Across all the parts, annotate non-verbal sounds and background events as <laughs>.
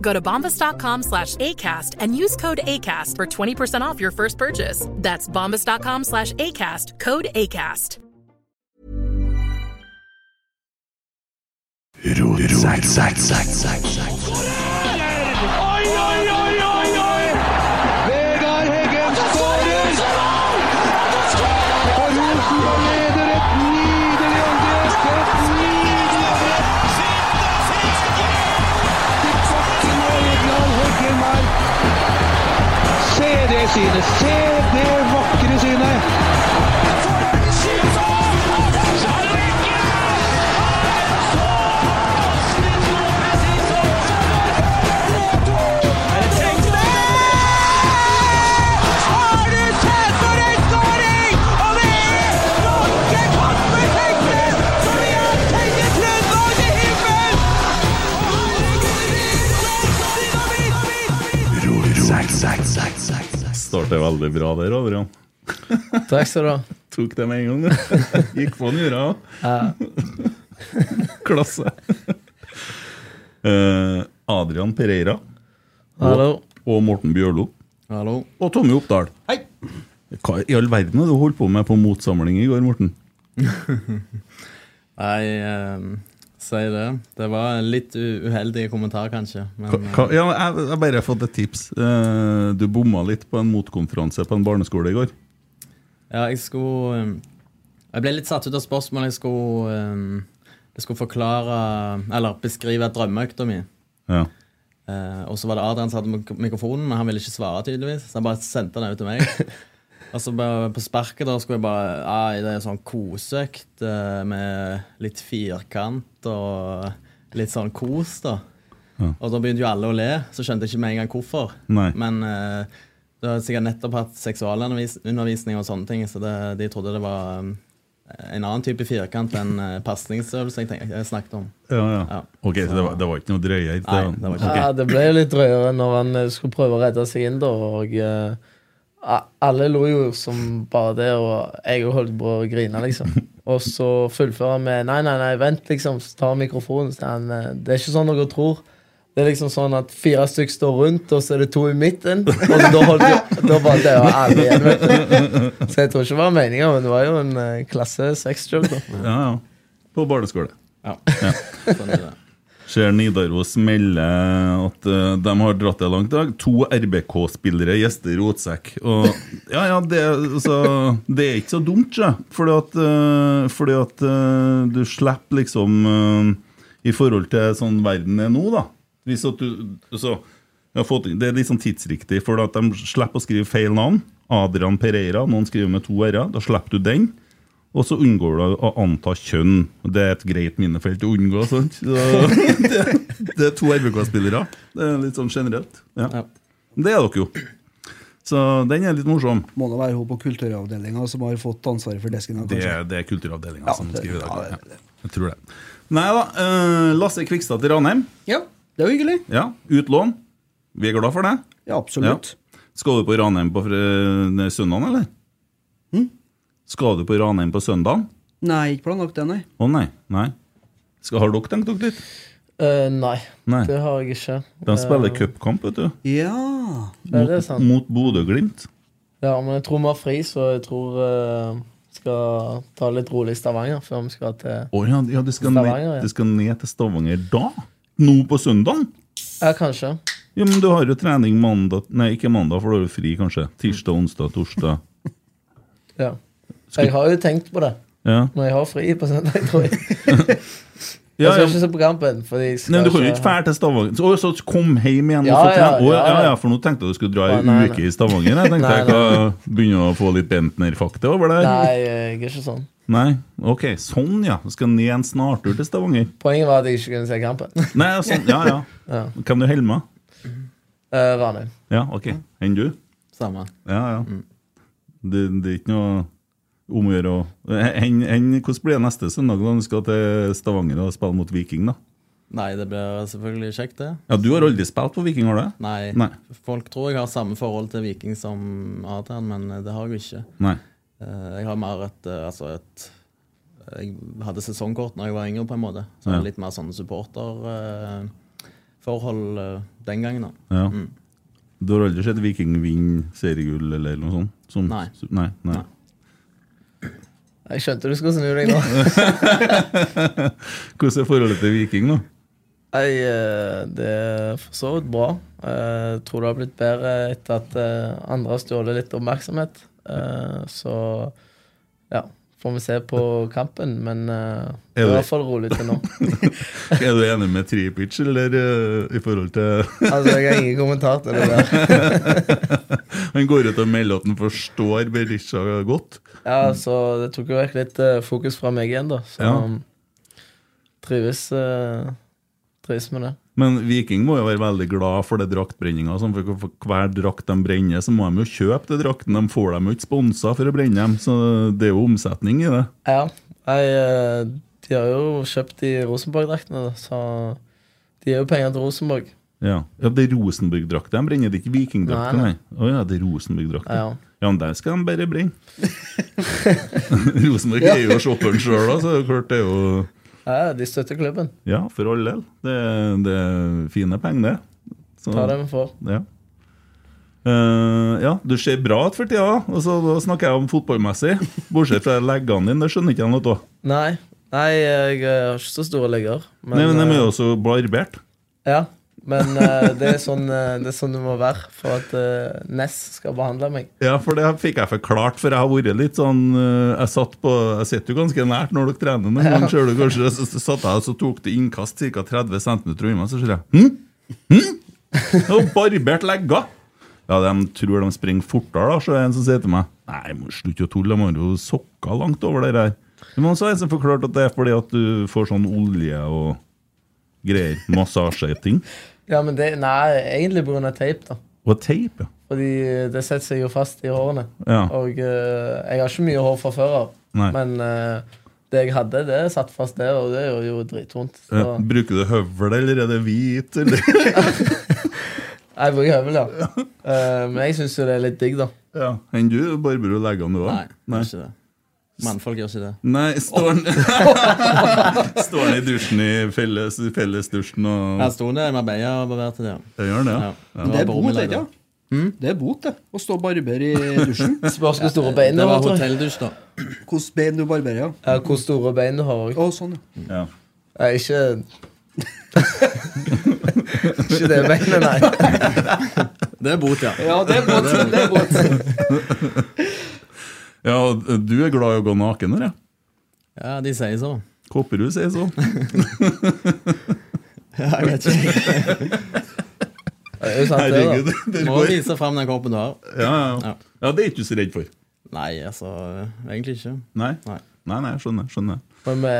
Go to bombas.com slash ACAST and use code ACAST for 20% off your first purchase. That's bombas.com slash ACAST, code ACAST. Zack, zack, zack, zack, zack. Oi, oi, oi, oi, oi! Vegard Heggen skårer! Og Rosenborg leder et nydelig angrep! Et nydelig angrep! Til bakken og Vegard Heggen her. Se det synet! Se det vakre synet! Zack, zack, zack, zack, zack. Startet veldig bra der, Adrian. Takk skal du ha. <laughs> Tok det med en gang. Gikk på den jorda. <laughs> Klasse. Eh, Adrian Pereira Hallo. og Morten Bjørlo Hallo. og Tommy Oppdal. Hei! Hva i all verden har du holdt på med på motsamling i går, Morten? Nei, eh, si det. Det var en litt u- uheldig kommentar, kanskje. Men eh, Hva, hva, ja, jeg jeg har bare fått et tips. Eh, du bomma litt på en motkonferanse på en barneskole i går. ja, jeg skulle eh, Jeg ble litt satt ut av spørsmålet. Jeg skulle, eh, jeg skulle forklare Eller beskrive drømmeøkta mi. Ja. Eh, og så var det Adrian som hadde mik- mikrofonen, men han ville ikke svare, tydeligvis. Så han bare sendte den ut til meg. <laughs> og så bare på sparket da skulle jeg bare ah, Det er sånn koseøkt eh, med litt firkant og litt sånn kos, da. Ja. Og da begynte jo alle å le, så skjønte jeg ikke med en gang hvorfor. Nei. Men eh, det har sikkert nettopp hatt seksualundervisning og sånne ting, så det, de trodde det var um, en annen type firkant enn uh, pasningsøvelse jeg, tenk- jeg snakket om. Ja, ja. Ja. Ok, så det var, det var ikke noe drøyere? Nei, det var ikke Ja, det ble jo litt drøyere når han eh, skulle prøve å redde seg inn, da. Og eh, a- alle lo jo som bare det, og jeg holdt på å grine, liksom. <laughs> Og så fullfører han med Nei, nei, nei, vent, liksom. Så tar han mikrofonen. Så han, eh, det er ikke sånn dere tror. Det er liksom sånn at fire stykker står rundt, og så er det to i midten. Og så da holdt jo, da bare daua alle igjen. vet du. Så jeg tror ikke det var meninga, men det var jo en eh, klasse sexjoke, da. Ja, ja. På barneskole. Ja. <laughs> Sånn er det. Ser Nidaros melde at eh, de har dratt det langt i dag. To RBK-spillere gjester Rotsekk. Og ja, ja, det, altså, det er ikke så dumt, sjø. Fordi at, eh, fordi at eh, du slipper liksom eh, I forhold til sånn verden er nå, da. Hvis at du altså, jeg har fått, Det er litt sånn tidsriktig, for at de slipper å skrive feil navn. Adrian Pereira, noen skriver med to r-er. Da slipper du den. Og så unngår du å anta kjønn. Og Det er et greit minnefelt å unngå. Sant? Så <laughs> det, det er to RBK-spillere. Det er litt sånn generelt. Ja. Ja. Det er dere jo. Så den er litt morsom. Må det være hun på kulturavdelinga som har fått ansvaret for desken? her, Det, kanskje? det er kulturavdelinga Ja, som det- skriver i ja, dag. det- Ja, jeg tror det. Nei da. eh, Lasse Kvikstad til Ranheim. Ja, det er jo hyggelig. Ja, utlån. Vi er glad for det. Ja, absolutt. Skal du på Ranheim på fre- søndagen, eller? Skal du på Ranheim på søndagen? Nei, ikke planlagt det, nei. Å nei. nei. Skal, har dere tenkt dere litt? Eh, nei, Nei. det har jeg ikke. Eh, De spiller cupkamp, vet du. Ja. Ja, det er sant. Mot Bodø-Glimt. Ja, men jeg tror vi har fri, så jeg tror eh, skal ta det litt rolig i Stavanger før vi skal til Å ja, ja, de skal, Stavanger, ned, ja. de skal ned til Stavanger da? Nå på søndagen? Ja, kanskje. Ja, men du har jo trening mandag Nei, ikke mandag, for da er du fri, kanskje. Tirsdag, onsdag, torsdag. <laughs> Ja. Jeg har jo tenkt på det, Ja, men jeg har fri på søndag, tror jeg. ja, Jeg skal ja. ikke se på kampen. Fordi jeg skal Nei, men Du kan jo ikke dra til Stavanger Så, å, så kom hjem igjen Ja, og få trene? ja, Å, Ja, ja, ja, ja. for nå tenkte jeg du skulle dra ei Å, nei, nei. uke i Stavanger. Jeg tenkte <laughs> Nei, jeg kan begynne å få litt Bentner-fakta over der. Nei, jeg er ikke sånn. Nei, ok, Sånn, ja. Du skal ned en snartur til Stavanger. Poenget var at jeg ikke kunne se kampen. <laughs> Nei, sånn, ja, <laughs> ja. Ja. Hvem du holder med? Uh, Ranheim. Ja, ok. Enn du? Samme. Ja, ja. Mm. Det, det er ikke noe om å gjøre å Hen- hen- Hvordan blir det neste søndag da du skal til Stavanger og spille mot Viking? da? Nei, det blir selvfølgelig kjekt, det. Ja, Du har aldri spilt på Viking, har du? det? Nei. Nei. Folk tror jeg har samme forhold til Viking som Adrian, men eh, det har jeg jo ikke. Nei. Eh, Jeg har mer et, eh, altså et eh, Jeg hadde sesongkort når jeg var yngre, på en måte. Så jeg Ja. hadde litt mer sånn eh, supporterforhold den gangen. da. Ja. Mm. Du har aldri sett Viking vinne seriegull eller noe sånt? Som, Nei. nei, nei. Nei. Jeg skjønte du skulle snu deg nå. <laughs> Hvordan er forholdet til Viking nå? Nei, eh, det er for så vidt bra. Eh, tror det har blitt bedre etter at eh, andre har stjålet litt oppmerksomhet. Eh, så ja, får vi se på kampen, men eh, det er i det- hvert fall rolig til nå. Er du enig med Tripic, eller eh, i forhold til <laughs> Altså, Jeg har ingen kommentar til det der. Han går ut og melder at han forstår Berisha godt. Ja, så Det tok jo vekk litt eh, fokus fra meg igjen, da. Så Ja. um, trives, eh, trives med det. Men Viking må jo være veldig glad for det draktbrenninga. sånn, For for hver drakt de brenner, så må de jo kjøpe de draktene. De får dem jo ikke sponsa for å brenne dem, så det er jo omsetning i det. Ja, jeg, eh, de har jo kjøpt de Rosenborg-draktene, da, så de gir jo penger til Rosenborg. Ja, ja Det er Rosenborg-drakt de brenner, det er ikke Viking-drakter, Nei, nei. Å ja, det er Rosenborg-drakt. Ja. Ja, men der skal de bare <laughs> brenne. Rosenborg er jo shopperen sjøl, da, så det er jo klart det er jo Ja, de støtter klubben. Ja, for all del. Det, er- det er fine penger, det. Så- Ta det vi får. Ja. Eh, ja, du ser bra ut for tida. Og så da snakker jeg om fotballmessig. Bortsett fra leggene dine, det skjønner ikke jeg noe av. Nei, nei, jeg eh, har ikke så store legger. Men, Nei, men de er eh, jo også barbert. ja, men eh, det, er sånn, eh, det er sånn det må være for at eh, Ness skal behandle meg. Ja, for det fikk jeg forklart, for jeg har vært litt sånn eh, Jeg satt på, jeg sitter jo ganske nært når dere trener, men ja. ser du kanskje så, så satt jeg og så tok det innkast ca. 30 cm unna, så sier jeg Hm? Hm? Det var barbert legger! Ja, de tror de springer fortere, da, så er det en som sier til meg Nei, må slutt å tulle, de har jo sokker langt over det der. Men så er det en som forklarte at det er fordi at du får sånn olje og greier. Massasjeting. Ja, men det, nei, egentlig pga. teip, da. Og teip, ja. Fordi eh, det setter seg jo fast i hårene. Ja. Og eh, jeg har ikke mye hår fra før av, Nei. men eh, det jeg hadde, det satt fast der, og det gjør jo dritvondt. Så Eh, Bruker du høvel, eller er det hvit, eller jeg bruker høvel, ja. Eh, men jeg syns jo det er litt digg, da. Ja. Enn du barberer leggene, du òg? Nei, det er ikke det. Mannfolk gjør ikke det. Nei, står han <laughs> Står han i dusjen i felles, fellesdusjen og Jeg sto der med beia og beverte det. ja. Jeg gjør han det, Ja. ja. var Det er på bot, rommet det, ikke? der, da. Hmm? ja? Det er bot, det. Å stå og barbere i dusjen. <laughs> Spørs hvor store bein du Det har. var tror jeg. hotelldusj, da. Hvordan bein du barberer, ja. Ja, hvor store bein du har. og- Å, sånn, ja. ja. Nei, ikke Ikke det beinet, nei. Det er bot, ja. Ja, det er bot. Det er bot. Ja, og eh, du er glad i å gå naken, eller? Ja, De sier så. Kopperud sier så. <laughs> Ja, jeg vet ikke. Det er jo sant, Herregud. det, da. Det Må går. vise fram den kroppen du har. Ja, ja. Ja. ja, det er ikke du så redd for. Nei, altså Egentlig ikke. Nei? Nei. Nei, nei, skjønner. skjønner Men vi,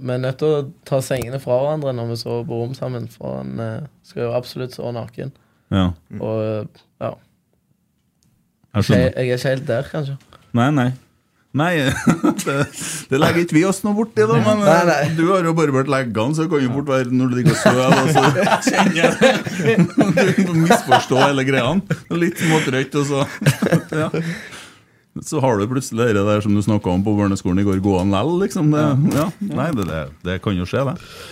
vi er nødt til å ta sengene fra hverandre når vi sover på rom sammen, for han eh, skal jo absolutt sove naken. Ja, Og eh, ja. jeg Jeg, skjønner. jeg er ikke helt der, kanskje. Nei, nei. Nei, <laughs> det, det legger ikke vi oss noe borti, da. Men eh, Nei, nei. du har jo barbert leggene, så det kan jo fort være når du ligger og sover, og så kjenner <laughs> <laughs> jeg Du misforstår hele greia. Litt småtrøtt, og så ja. Så har du plutselig det der som du snakka om på barneskolen i går, gående lell, liksom. Det, ja. Nei, det, det, det kan jo skje, det.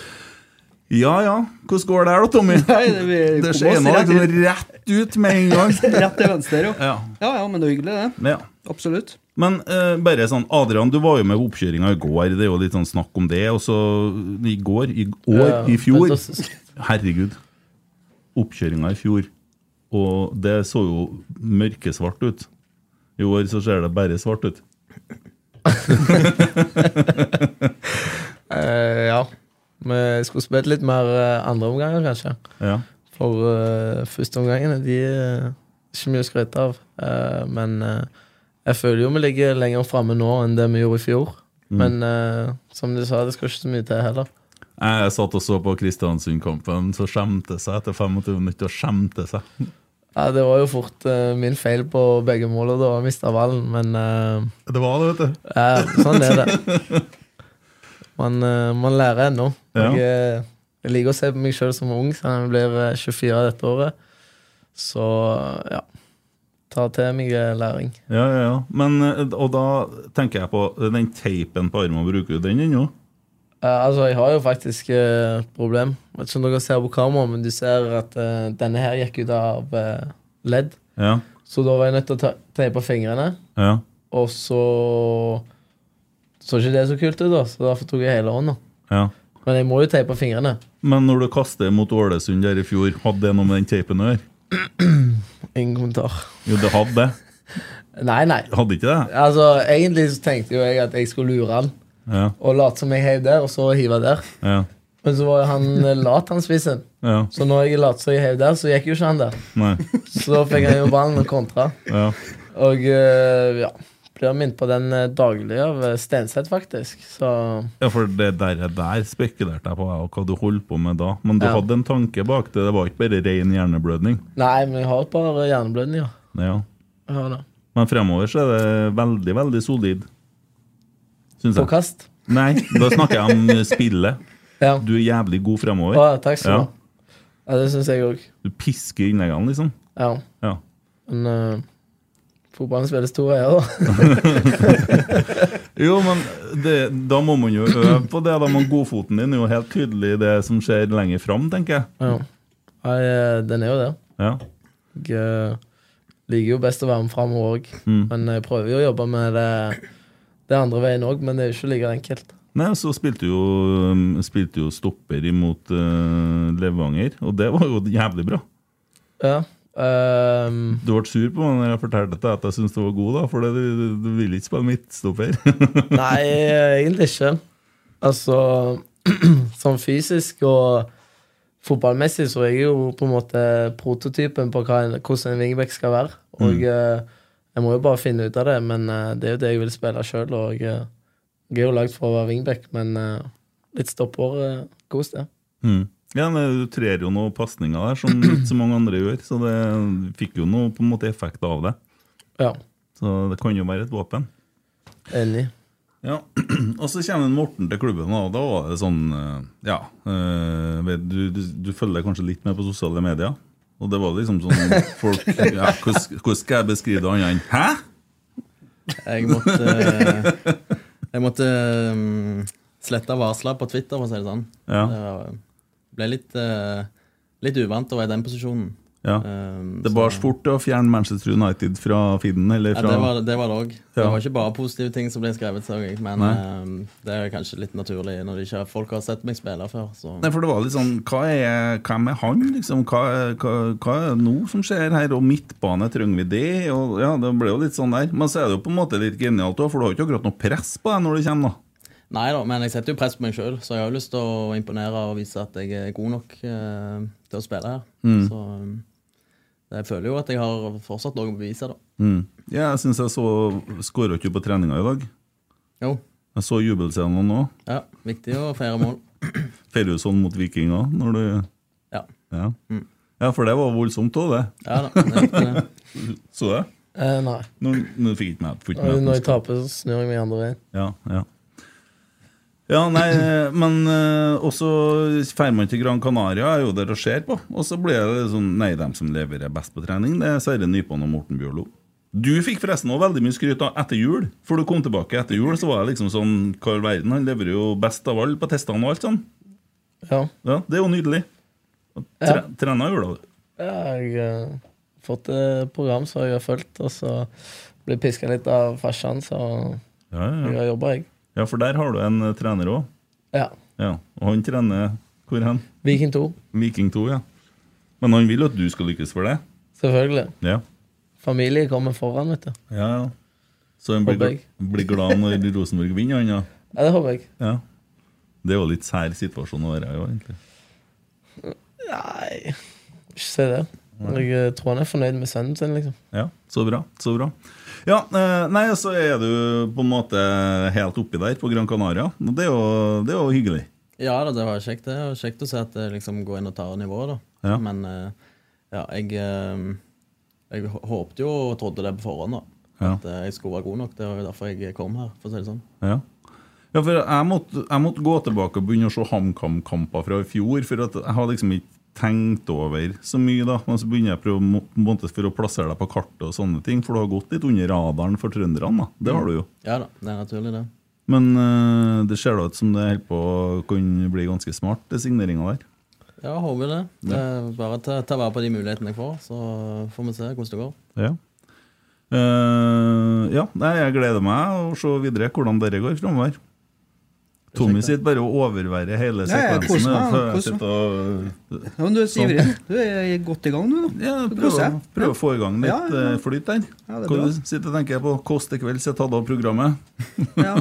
Ja ja, hvordan går det her da, Tommy? Nei, det, vi det kom oss skjer noe rett liksom rett ut med en gang. Rett til venstre, jo. Ja. Ja, ja, men det er hyggelig, det. Ja. Absolutt. Men eh, bare sånn, Adrian, du var jo med på oppkjøringa i går. Det er jo litt sånn snakk om det. Og så i går, i år, Ja, i fjor fantastisk. Herregud. Oppkjøringa i fjor. Og det så jo mørkesvart ut. I år så ser det bare svart ut. Eh, ja. Vi skulle spilt litt mer eh, andre omganger, kanskje. Ja. For eh, første omgangene, de er ikke mye å skryte av. Eh, men eh, jeg føler jo vi ligger lenger framme nå enn det vi gjorde i fjor. Men eh, som du sa, det skal ikke så mye til heller. Jeg satt og så på Kristiansund-kampen, så skjemte seg etter 25 minutter. og Skjemte seg. Ja, det var jo fort eh, min feil på begge målene da jeg mista ballen, men eh, Det var det, vet du. ja, sånn er det. Man, eh, man lærer ennå. Ja. Jeg, eh, jeg liker å se på meg sjøl som ung, så jeg blir eh, 24 dette året. Så ja. Tar til meg eh, læring. Ja, ja, ja. Men, eh, og da tenker jeg på den teipen på armen. Bruker du den ennå? Eh, altså, jeg har jo faktisk eh, et problem. Jeg vet ikke om dere ser på kamera, men du ser at eh, denne her gikk ut av eh, ledd. Ja. Så da var jeg nødt til å ta- teipe fingrene, ja. og så så ikke det så kult ut, da, så derfor tok jeg hele hånda. Ja. Men jeg må jo teipe fingrene. Men når du kaster mot Ålesund der i fjor, hadde det noe med den teipen å gjøre? Ingen kommentar. Jo, det hadde det. Nei, nei. Hadde ikke det? Altså, Egentlig så tenkte jo jeg at jeg skulle lure han Ja, og late som jeg heiv der, og så hive der. ja, Men så var han eh, lat, han spissen. ja. Så når jeg lot som jeg heiv der, så gikk jo ikke han der. Nei. Så da fikk han jo ballen og kontra. Ja. Og eh, ja, blir minnet på den eh, daglig av eh, Stenseth, faktisk. Så ja, for det der, der spekulerte jeg på jeg, og hva du holdt på med da. Men du Ja. hadde en tanke bak det. Det var ikke bare ren hjerneblødning. nei, men jeg har et par eh, hjerneblødninger. Ja. Jeg har det. Men fremover så er det veldig, veldig solid. Syns På jeg. kast. Nei, da snakker jeg om spillet. Ja. Du er jævlig god Å, fremover. ja, takk skal du Ja. ha. Ja, det syns jeg òg. Du pisker innleggene, liksom. Ja. Ja. Men eh, fotballen spilles to veier, da. Jo, men det, da må man jo øve på det. da, men Godfoten din er jo helt tydelig det som skjer lenger fram, tenker jeg. Ja. Nei, eh, den er jo det. Ja. Jeg eh, liker jo best å være med framover òg. Men jeg prøver jo å jobbe med det, det andre veien òg, men det er jo ikke like enkelt. Nei, Så spilte jo, um, spilte jo stopper imot eh, Levanger, og det var jo jævlig bra. Ja. ehm, Du ble sur på meg når jeg fortalte deg at jeg syntes det var god, da, for det, du, du vil ikke spille midtstopper. <laughs> Nei, egentlig ikke. Altså, <clears throat> sånn fysisk og fotballmessig så er jeg jo på en måte prototypen på hva en, hvordan en wingback skal være. Og eh, jeg må jo bare finne ut av det, men eh, det er jo det jeg vil spille sjøl. Og eh, jeg er jo lagd for å være wingback, men eh, litt stopper uh, kos, det. Mm. Ja, men Du trer jo noen pasninger der som ikke så mange andre gjør, så det fikk jo noe på en måte effekt av det. Ja, Så det kan jo være et våpen. enig. Ja, <clears throat> og så kommer Morten til klubben, og da var det sånn eh, Ja, eh, vet du, du, du følger kanskje litt med på sosiale medier? Og det var liksom sånn <laughs> folk, ja, Hvordan hvordan skal jeg beskrive det annet enn Hæ?! Jeg måtte, eh, jeg måtte mm, slette varsler på Twitter, for å si det sånn. Ja. Det var- ble litt, eh, litt uvant å være i den posisjonen. Ja. Um, Det så- bars fort til å fjerne Manchester United fra feeden. Eller ja, fra, det var det var det òg. Det Ja. var ikke bare positive ting som ble skrevet, så jeg, men Nei. um, det er kanskje litt naturlig når de ikke, folk har sett meg spille før. Så. Nei, for det var litt sånn Hva er, hvem er han, liksom? Hva, er- hva, hva er det nå som skjer her? Og midtbane, trenger vi det? Og ja, Det ble jo litt sånn der. Men så er det jo på en måte litt genialt òg, for du har jo ikke akkurat noe press på deg når du kommer, da. Nei da, men jeg setter jo press på meg sjøl, så jeg har jo lyst til å imponere og vise at jeg er god nok eh, til å spille her. Mm. Så um, jeg føler jo at jeg har fortsatt noe å bevise, da. Mm. Ja, jeg syns jeg så skåra ikke på treninga i dag. Jo. Jeg så jubelscenen nå. Ja, viktig å feire <laughs> mål. Feirer du sånn mot vikinger når du Ja. Ja, ja for det var voldsomt òg, det. ja da. det er riktig. Så det? Eh, nei. Nå, nå fikk jeg ikke med fikk ikke Og med når jeg taper, så snur jeg meg andre veien. Ja, ja. ja, nei, men eh, også drar man til Gran Canaria, er jo der og ser på. Og så blir det sånn Nei, dem som leverer best på trening, det er Sverre Nypan og Morten Bjørlo. Du fikk forresten også veldig mye skryt av etter jul. For du kom tilbake etter jul, så var jeg liksom sånn Hva i all verden? Han leverer jo best av alle på testene og alt sånn. Ja. Det er jo nydelig. Og Tre, Trena jula, du. Ja, jeg har fått et program som jeg har fulgt, og så blir piska litt av farsan, så Ja, ja, jeg ja. har jobba, jeg. ja, for der har du en eh, trener òg. Ja. Ja. Og han trener hvor hen? Viking 2. Viking 2, ja. Men han vil jo at du skal lykkes for det. Selvfølgelig. Ja. Familie kommer foran, vet du. Ja, ja. Så han blir, Håper jeg. gl- blir glad når Rosenborg vinner, han, ja. Ja, det håper jeg. ja. Det er jo litt sær situasjon å være i, jo, egentlig. Nei, ikke si det. Jeg eh, tror han er fornøyd med sønnen sin, liksom. Ja, så bra. så bra Ja, eh, nei, så er du på en måte helt oppi der på Gran Canaria. Og Det er jo, det er jo hyggelig. Ja da, det var kjekt det. Og kjekt å se at det liksom går inn og tar nivået, da. Ja. Men eh, ja, jeg eh, Jeg hå- håpte jo og trodde det på forhånd, da. Ja. At eh, jeg skulle være god nok. Det var jo derfor jeg kom her, for å si det sånn. Ja. Ja, for jeg måtte, jeg måtte gå tilbake og begynne å se HamKam-kamper fra i fjor. For at jeg har liksom ikke tenkt over så mye, da. Men så begynner jeg å prøve å må- måte for å plassere deg på kartet og sånne ting. For du har gått litt under radaren for trønderne, da. Det har du jo. Ja da, det er naturlig, det. Men eh, det ser da ut som det holder på å kunne bli ganske smart, det signeringa der. Ja, håper det. det er bare ta, ta vare på de mulighetene jeg får, så får vi se hvordan det går. Ja. Eh, ja, nei, jeg gleder meg å se videre hvordan dette går framover. Tommy sitter bare og overværer hele Ja, jeg koser sekvensen. meg, for jeg koser meg. sitter og- Ja, men du er så Sånn. ivrig. Du er godt i gang nå. Ja, Du Prøv, koser. prøv å få i gang litt Ja, ja. eh, flyt der. Ja, det er Hva bra. du sitter og tenker på? Kåss til kvelds er tatt av programmet. Ja,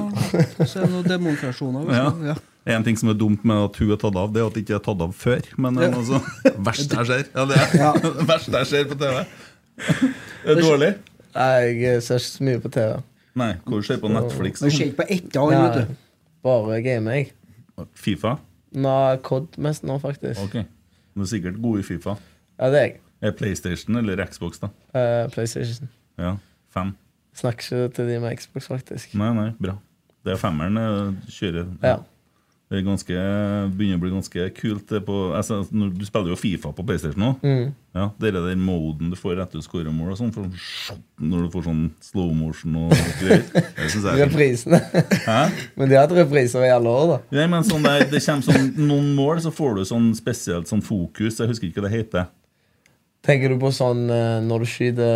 så er det noen demonstrasjoner. Ja. Sånn, også. Ja. En ting som er dumt med at hun er tatt av, det er at det ikke er tatt av før. Men det er <laughs> noe så- verst jeg ser. Ja, det er <laughs> det verste jeg ser på TV. Er det dårlig? Nei, jeg eh, ser ikke så mye på TV. Nei, hvor du ser på Netflix? Du ser ikke på ett av alle, vet du. Nei, Bare gamer, jeg. Fifa? Nå COD mest nå, faktisk. Ok. Du er sikkert god i Fifa. Ja, det er jeg. Er PlayStation eller Xbox, da? Eh, PlayStation. Ja, fem. Snakker ikke til de med Xbox, faktisk. Nei, nei, bra. Det er femmeren eh, kjører. Ja. Det er ganske, begynner å bli ganske kult. Det på, altså, når- du spiller jo Fifa på PlayStation nå. Ja, det er den moden du får etter du scorer mål, og sånn, for når du får sånn slow motion og greier. <laughs> Det synes jeg er fint. Reprisene. <laughs> Men de har hatt repriser i alle år, da. Nei, men sånn der, det kommer sånn, noen mål, så får du sånn spesielt sånn fokus. Jeg husker ikke hva det heter. Tenker du på sånn eh, når du skyter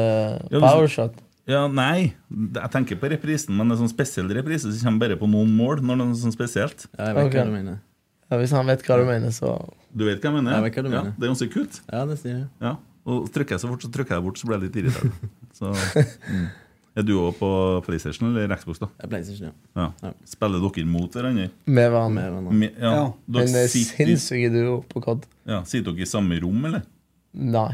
Ja, hvis- powershot? Ja, nei, jeg tenker på reprisen, men det er sånn spesiell reprise som kommer bare på noen mål. når det er sånn spesielt. Ja, jeg vet Ok. hva du mener. Ja, hvis han vet hva du mener, så Du vet hva jeg mener? Jeg vet hva du ja, mener. Det er ganske kult. Ja, det sier jeg. Ja, og trykker jeg så fort, så trykker jeg bort, så blir jeg litt irritert. <laughs> Så, mm. Er du òg på PlayStation eller Xbox? da? Jeg pleier ikke det. Ja. Ja. Spiller dere mot hverandre? med hverandre. Mer enn Me- Ja, Ja. Dere Men det er sitter, i- sinnssyke duo eh, på COD. ja, sitter dere i samme rom, eller? Nei.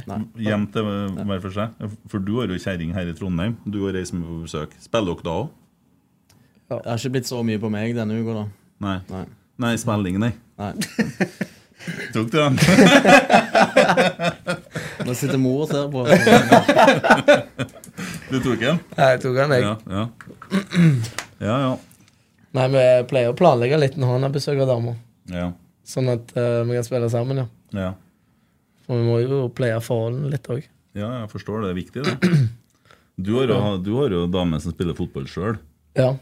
Hjem til hver for seg? For du har jo kjerring her i Trondheim. Du har reist med på besøk. Spiller dere da òg? Det har ikke blitt så mye på meg denne uka, da. Nei. Nei. Nei, spilling, nei. Nei. Tok du <laughs> den? Nå sitter mor og ser <laughs> på. så- Du tok den? Jeg tok han, jeg. Ja, ja. Ja, ja. Nei, vi pleier å planlegge litt når han har besøk av dama, ja. sånn at eh, vi kan spille sammen, ja. ja. For vi må jo pleie forholdene litt òg. Ja, jeg forstår det. Det er viktig, det. <clears throat> Du har jo, du har jo dame som spiller fotball sjøl. Ja.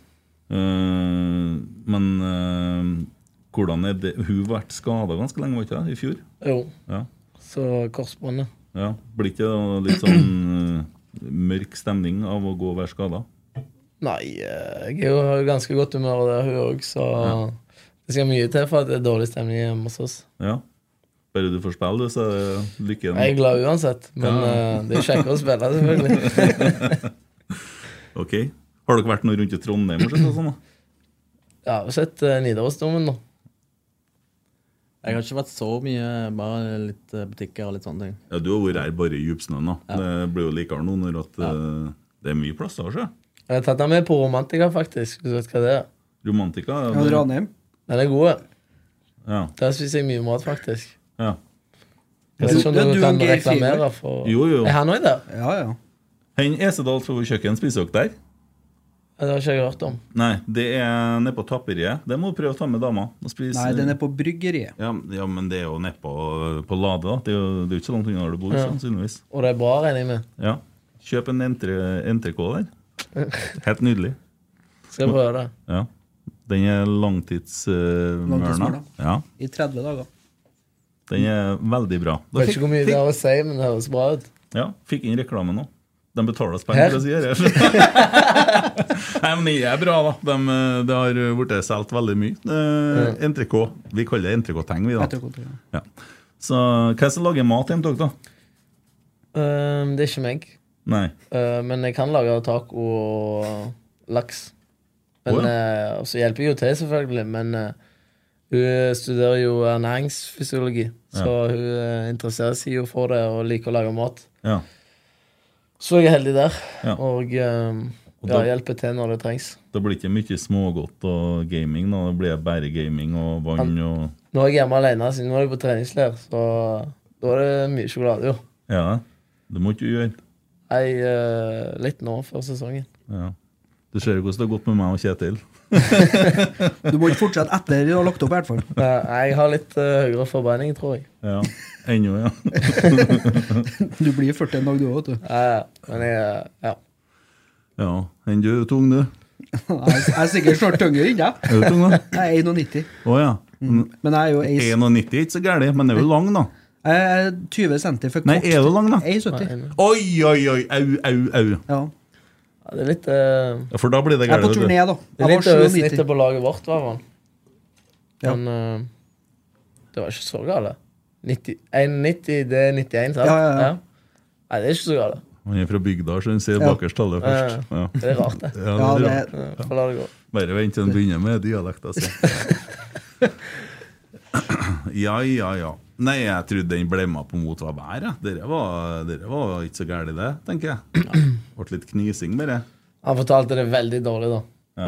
men eh, hvordan er det Hun har vært skada ganske lenge, var ikke det? I fjor? Jo. Ja. Så korsbåndet. ja. Blir ikke det litt sånn eh, mørk stemning av å gå og være skada? Nei, eh, jeg er jo i ganske godt humør, og det er hun òg, så det skal mye til for at det er dårlig stemning hjemme hos oss. Ja. Bare du får spille, du, så er det lykke Jeg er igjen. glad uansett, men Mm. Ja. eh, det er jo kjekkere å spille, selvfølgelig. Ok. Har dere vært noe rundt i Trondheim? og sett og sånn, da? Jeg har jo sett eh, Nidarosdomen nå. Jeg har ikke vært så mye, bare litt eh, butikker og litt sånne ting. Ja, Du har vært her bare i djupsnøen. da. Det blir jo likere nå når at, eh, det er mye plasser. Ikke? Jeg har tatt den med på Romantika, faktisk. Hvis du vet hva det er. Romantika. Ja, det- Ranheim. Den er god. ja. Der spiser jeg mye mat, faktisk. Ja. Jeg vet ikke om Du- du du kan og Geir reklamere for Jo, jo. Er han òg der? Ja, ja. Hen Esedal fra kjøkken spiser dere der? Ja, Det har ikke jeg hørt om. Nei, det er nede på tapperiet. Det må du prøve å ta med dama. og spise- Nei, den er på bryggeriet. ja, ja, men det er jo nede på, på Lade, da. Det er jo det er jo ikke så langt unna der du bor, sannsynligvis. Og det er bra, regner jeg med. Ja. Kjøp en entre, NTK der. <laughs> Helt nydelig. Skal jeg prøve det? Ja. Den er langtidsmørna. Langtidsmørna. ja. I 30 dager. Den er veldig bra. Da Vet ikke hvor mye det fikk, har å si, men det høres bra ut. ja, fikk inn reklame nå. De betaler oss Her? penger for å si det. <laughs> Nei, men det er bra, da. De, eh, det har blitt solgt veldig mye. Eh, NTK. Vi kaller det NTK-teng, vi, da. Etterkontroll. Ja. Så hva er det som lager mat hjemme hos dere, da? Ehm, det er ikke meg. Nei. Eh, men jeg kan lage taco og laks. Men, Å, eh, og så hjelper jeg jo til, selvfølgelig. Men eh, hun studerer jo ernæringsfysiologi, så hun eh, interesserer seg jo for det og liker å lage mat. Ja. Så jeg er heldig der, Ja. og, eh, Og ja, da- hjelper til når det trengs. Det blir ikke mye smågodt og gaming. Da. Det blir bare gaming og vann og Nå er jeg hjemme alene, siden nå er jeg på treningsleir, så da er det mye sjokolade, jo. Ja, det må ikke du gjøre. Jeg, eh, litt nå før sesongen. Ja. Du ser jo hvordan det har gått med meg og Kjetil. Du må ikke fortsette etter du har lagt opp, i hvert fall. Eh, jeg har litt eh, høyere forbrenning, tror jeg. Ja, Ennå, ja. <laughs> Du blir 40 en dag, du òg, vet du. Eh, men jeg, eh, ja. ja. Enn du er tung, du. <laughs> Jeg er- jeg er sikkert snart tyngre enn deg. Er du tung, da? Jeg er 91. Å ja. Men Men jeg er jo 1, 91 er ikke så gærent, men det er jo lang, da. jeg er 20 cm for kort. Nei, er du lang, da? Jeg er 70. Oi, oi, oi. Au, au, au. Ja. Ja, det er litt eh, Ja, For da blir det Jeg er på gærent. turné, vet du. da. Jeg Det er var litt over 97. snittet på laget vårt, hva var Ja. Men eh, det var ikke så gale. 90, 1,90, det er 91, sant? Ja, ja, ja. Nei, det er ikke så gale. Han er fra bygda, så han ser Ja. bakerst tallet først. Ja. Det er rart, det. <laughs> Ja, Ja, det det er er rart. Ja, Får la det gå. Bare vent til han begynner med dialekta <laughs> si. Ja, ja, ja. Nei, jeg trodde den blemma på mot var vær. jeg. Dere var, dere var ikke så gærent, det, tenker jeg. Ble litt knising, bare. Han fortalte det veldig dårlig, da.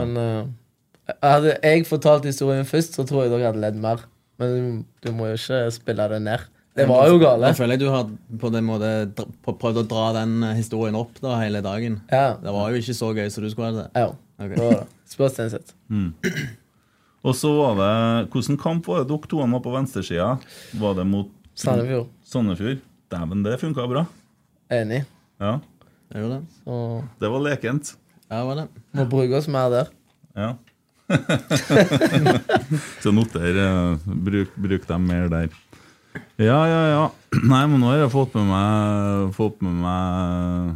Men eh, hadde jeg fortalt historien først, så tror jeg dere hadde ledd mer. Men du, du må jo ikke spille det ned. Det var jo gale. Jeg føler jeg du har på den måte dr- på- prøvd å dra den eh, historien opp da, hele dagen. Ja. Det var jo ikke så gøy som du skulle ha det. Ja, Ok. det var det. Spør Stenseth. Og så var det Hvilken kamp var det dere to var på venstresida? Var det mot Sandefjord. Sandefjord? Dæven, det funka bra. Enig. Ja, Jeg gjorde det. Og det var lekent. Ja, det var det. må bruke oss mer der. Ja. <laughs> så noter eh, bruk, bruk dem mer der. Ja, ja, ja. <clears throat> Nei, men nå har jeg fått med meg Fått med meg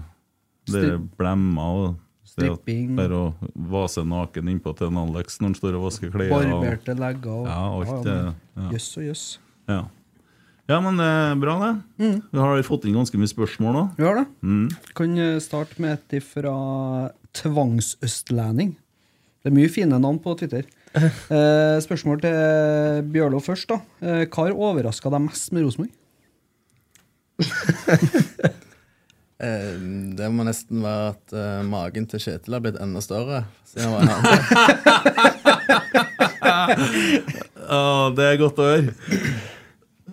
dere blemma og det at- Stripping. Bare å vase naken innpå til en Alex når han står og vasker klær. og- Barberte legger og Ja, alt Ja, det. men- Ja. Jøss og jøss. Ja. ja, men det er bra, det. Mm. Vi har fått inn ganske mye spørsmål nå. Vi har det. Kan eh, starte med et fra Tvangsøstlending. Det er mye fine navn på Twitter. Eh, spørsmål til Bjørlo først. da. Eh, hva har overraska deg mest med Rosenborg? Eh, det må nesten være at eh, magen til Kjetil har blitt enda større. Siden han var en Ja, det er godt å høre.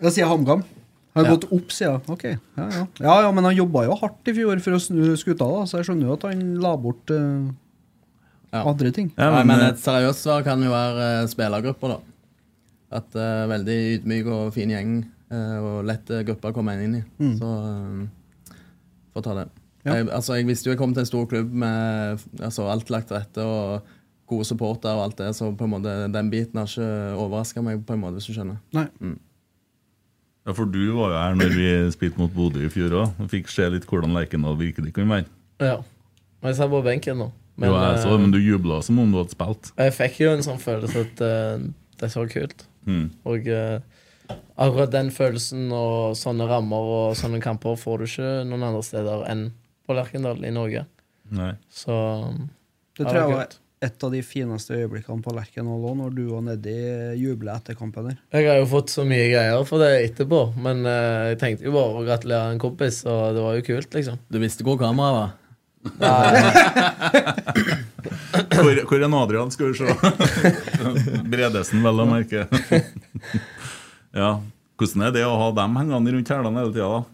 Da sier jeg HamKam. Han har gått opp, sier jeg. Ok, ja, ja. ja, ja, men han jobba jo hardt i fjor for å snu skuta, da, så jeg skjønner jo at han la bort eh, Ja. andre ting. Ja, Nei, men, men eh, et seriøst svar kan jo være eh, spillergrupper, da. At eh, veldig ydmyk og fin gjeng eh, og lett eh, gruppe å komme inn i. Mm. Så eh, får ta det. Ja. Jeg, altså, jeg visste jo jeg kom til en stor klubb med altså, alt lagt til rette og gode supporter og alt det, så på en måte, den biten har ikke overraska meg, på en måte, hvis du skjønner. Nei. Ja, for du var jo her når vi spilte mot Bodø i fjor òg. Fikk se litt hvordan Lerkendal virkelig kan være. Ja. Men jeg satt på benken nå. Men, Men, jo, jeg så, det, eh, men du jubla som om du hadde spilt. jeg fikk jo en sånn følelse at eh, det så kult. Mm. Og eh, akkurat den følelsen og sånne rammer og sånne kamper får du ikke noen andre steder enn på Lerkendal i Norge. Nei. Så Det Ja, tror det er jeg var kult. et av de fineste øyeblikkene på Lerkendal òg, når du og Neddy jubler eh, etter kampen der. jeg har jo fått så mye greier for det etterpå, men eh, jeg tenkte jo bare å gratulere en kompis, og det var jo kult, liksom. Du visste hvor kameraet var? Hvor, hvor er Adrian, skal vi se? <laughs> Bredesen, vel å <laughs> merke. ja. Hvordan er det å ha dem hengende rundt hælene hele tida, da? <laughs>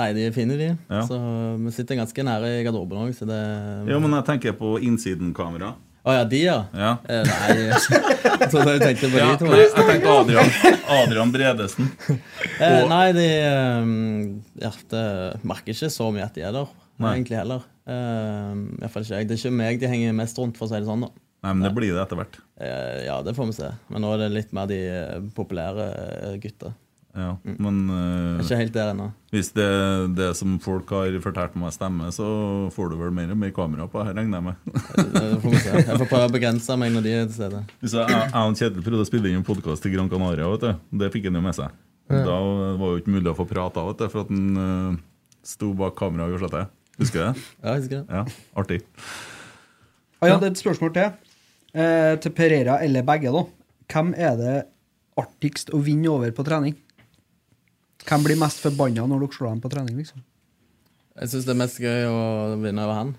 Nei, de er fine, de. Ja. Så vi sitter ganske nære i garderoben òg, så det Jo, men jeg tenker på innsidenkamera. Å ja, de, ja? Ja. Eh, nei Så jeg tenkte på Ja, de to. nei, jeg tenkte Adrian, Adrian Bredesen. Eh, Og- nei, de eh, ja, det merker ikke så mye at de er der. Nei. egentlig heller. Eh, i hvert fall ikke jeg. Det er ikke meg de henger mest rundt, for å si det sånn. da. Nei, men det blir det etter hvert. Eh, ja, det får vi se. Men nå er det litt mer de eh, populære eh, gutta. Ja, men eh, Jeg er Ikke helt der ennå. hvis det, det som folk har fortalt meg stemmer, så får du vel mer og mer kamera på her, regner jeg med. Eh, det får vi se. Jeg får prøve å begrense meg når de er til stede. Hvis jeg, jeg og Kjetil prøvde å spille inn en podkast til Gran Canaria, vet du. det fikk han jo med seg. Ja. Da var jo ikke mulig å få prata, vet du, for at han eh, sto bak kameraet og gjorde slett det. Husker du det? Ja, jeg husker det. Ja, artig. Ah, jeg hadde et spørsmål til. Eh, til Pereira eller begge, da. Hvem er det artigst å vinne over på trening? Hvem blir mest forbanna når dere slår dem på trening? liksom? Jeg syns det er mest gøy å vinne over han.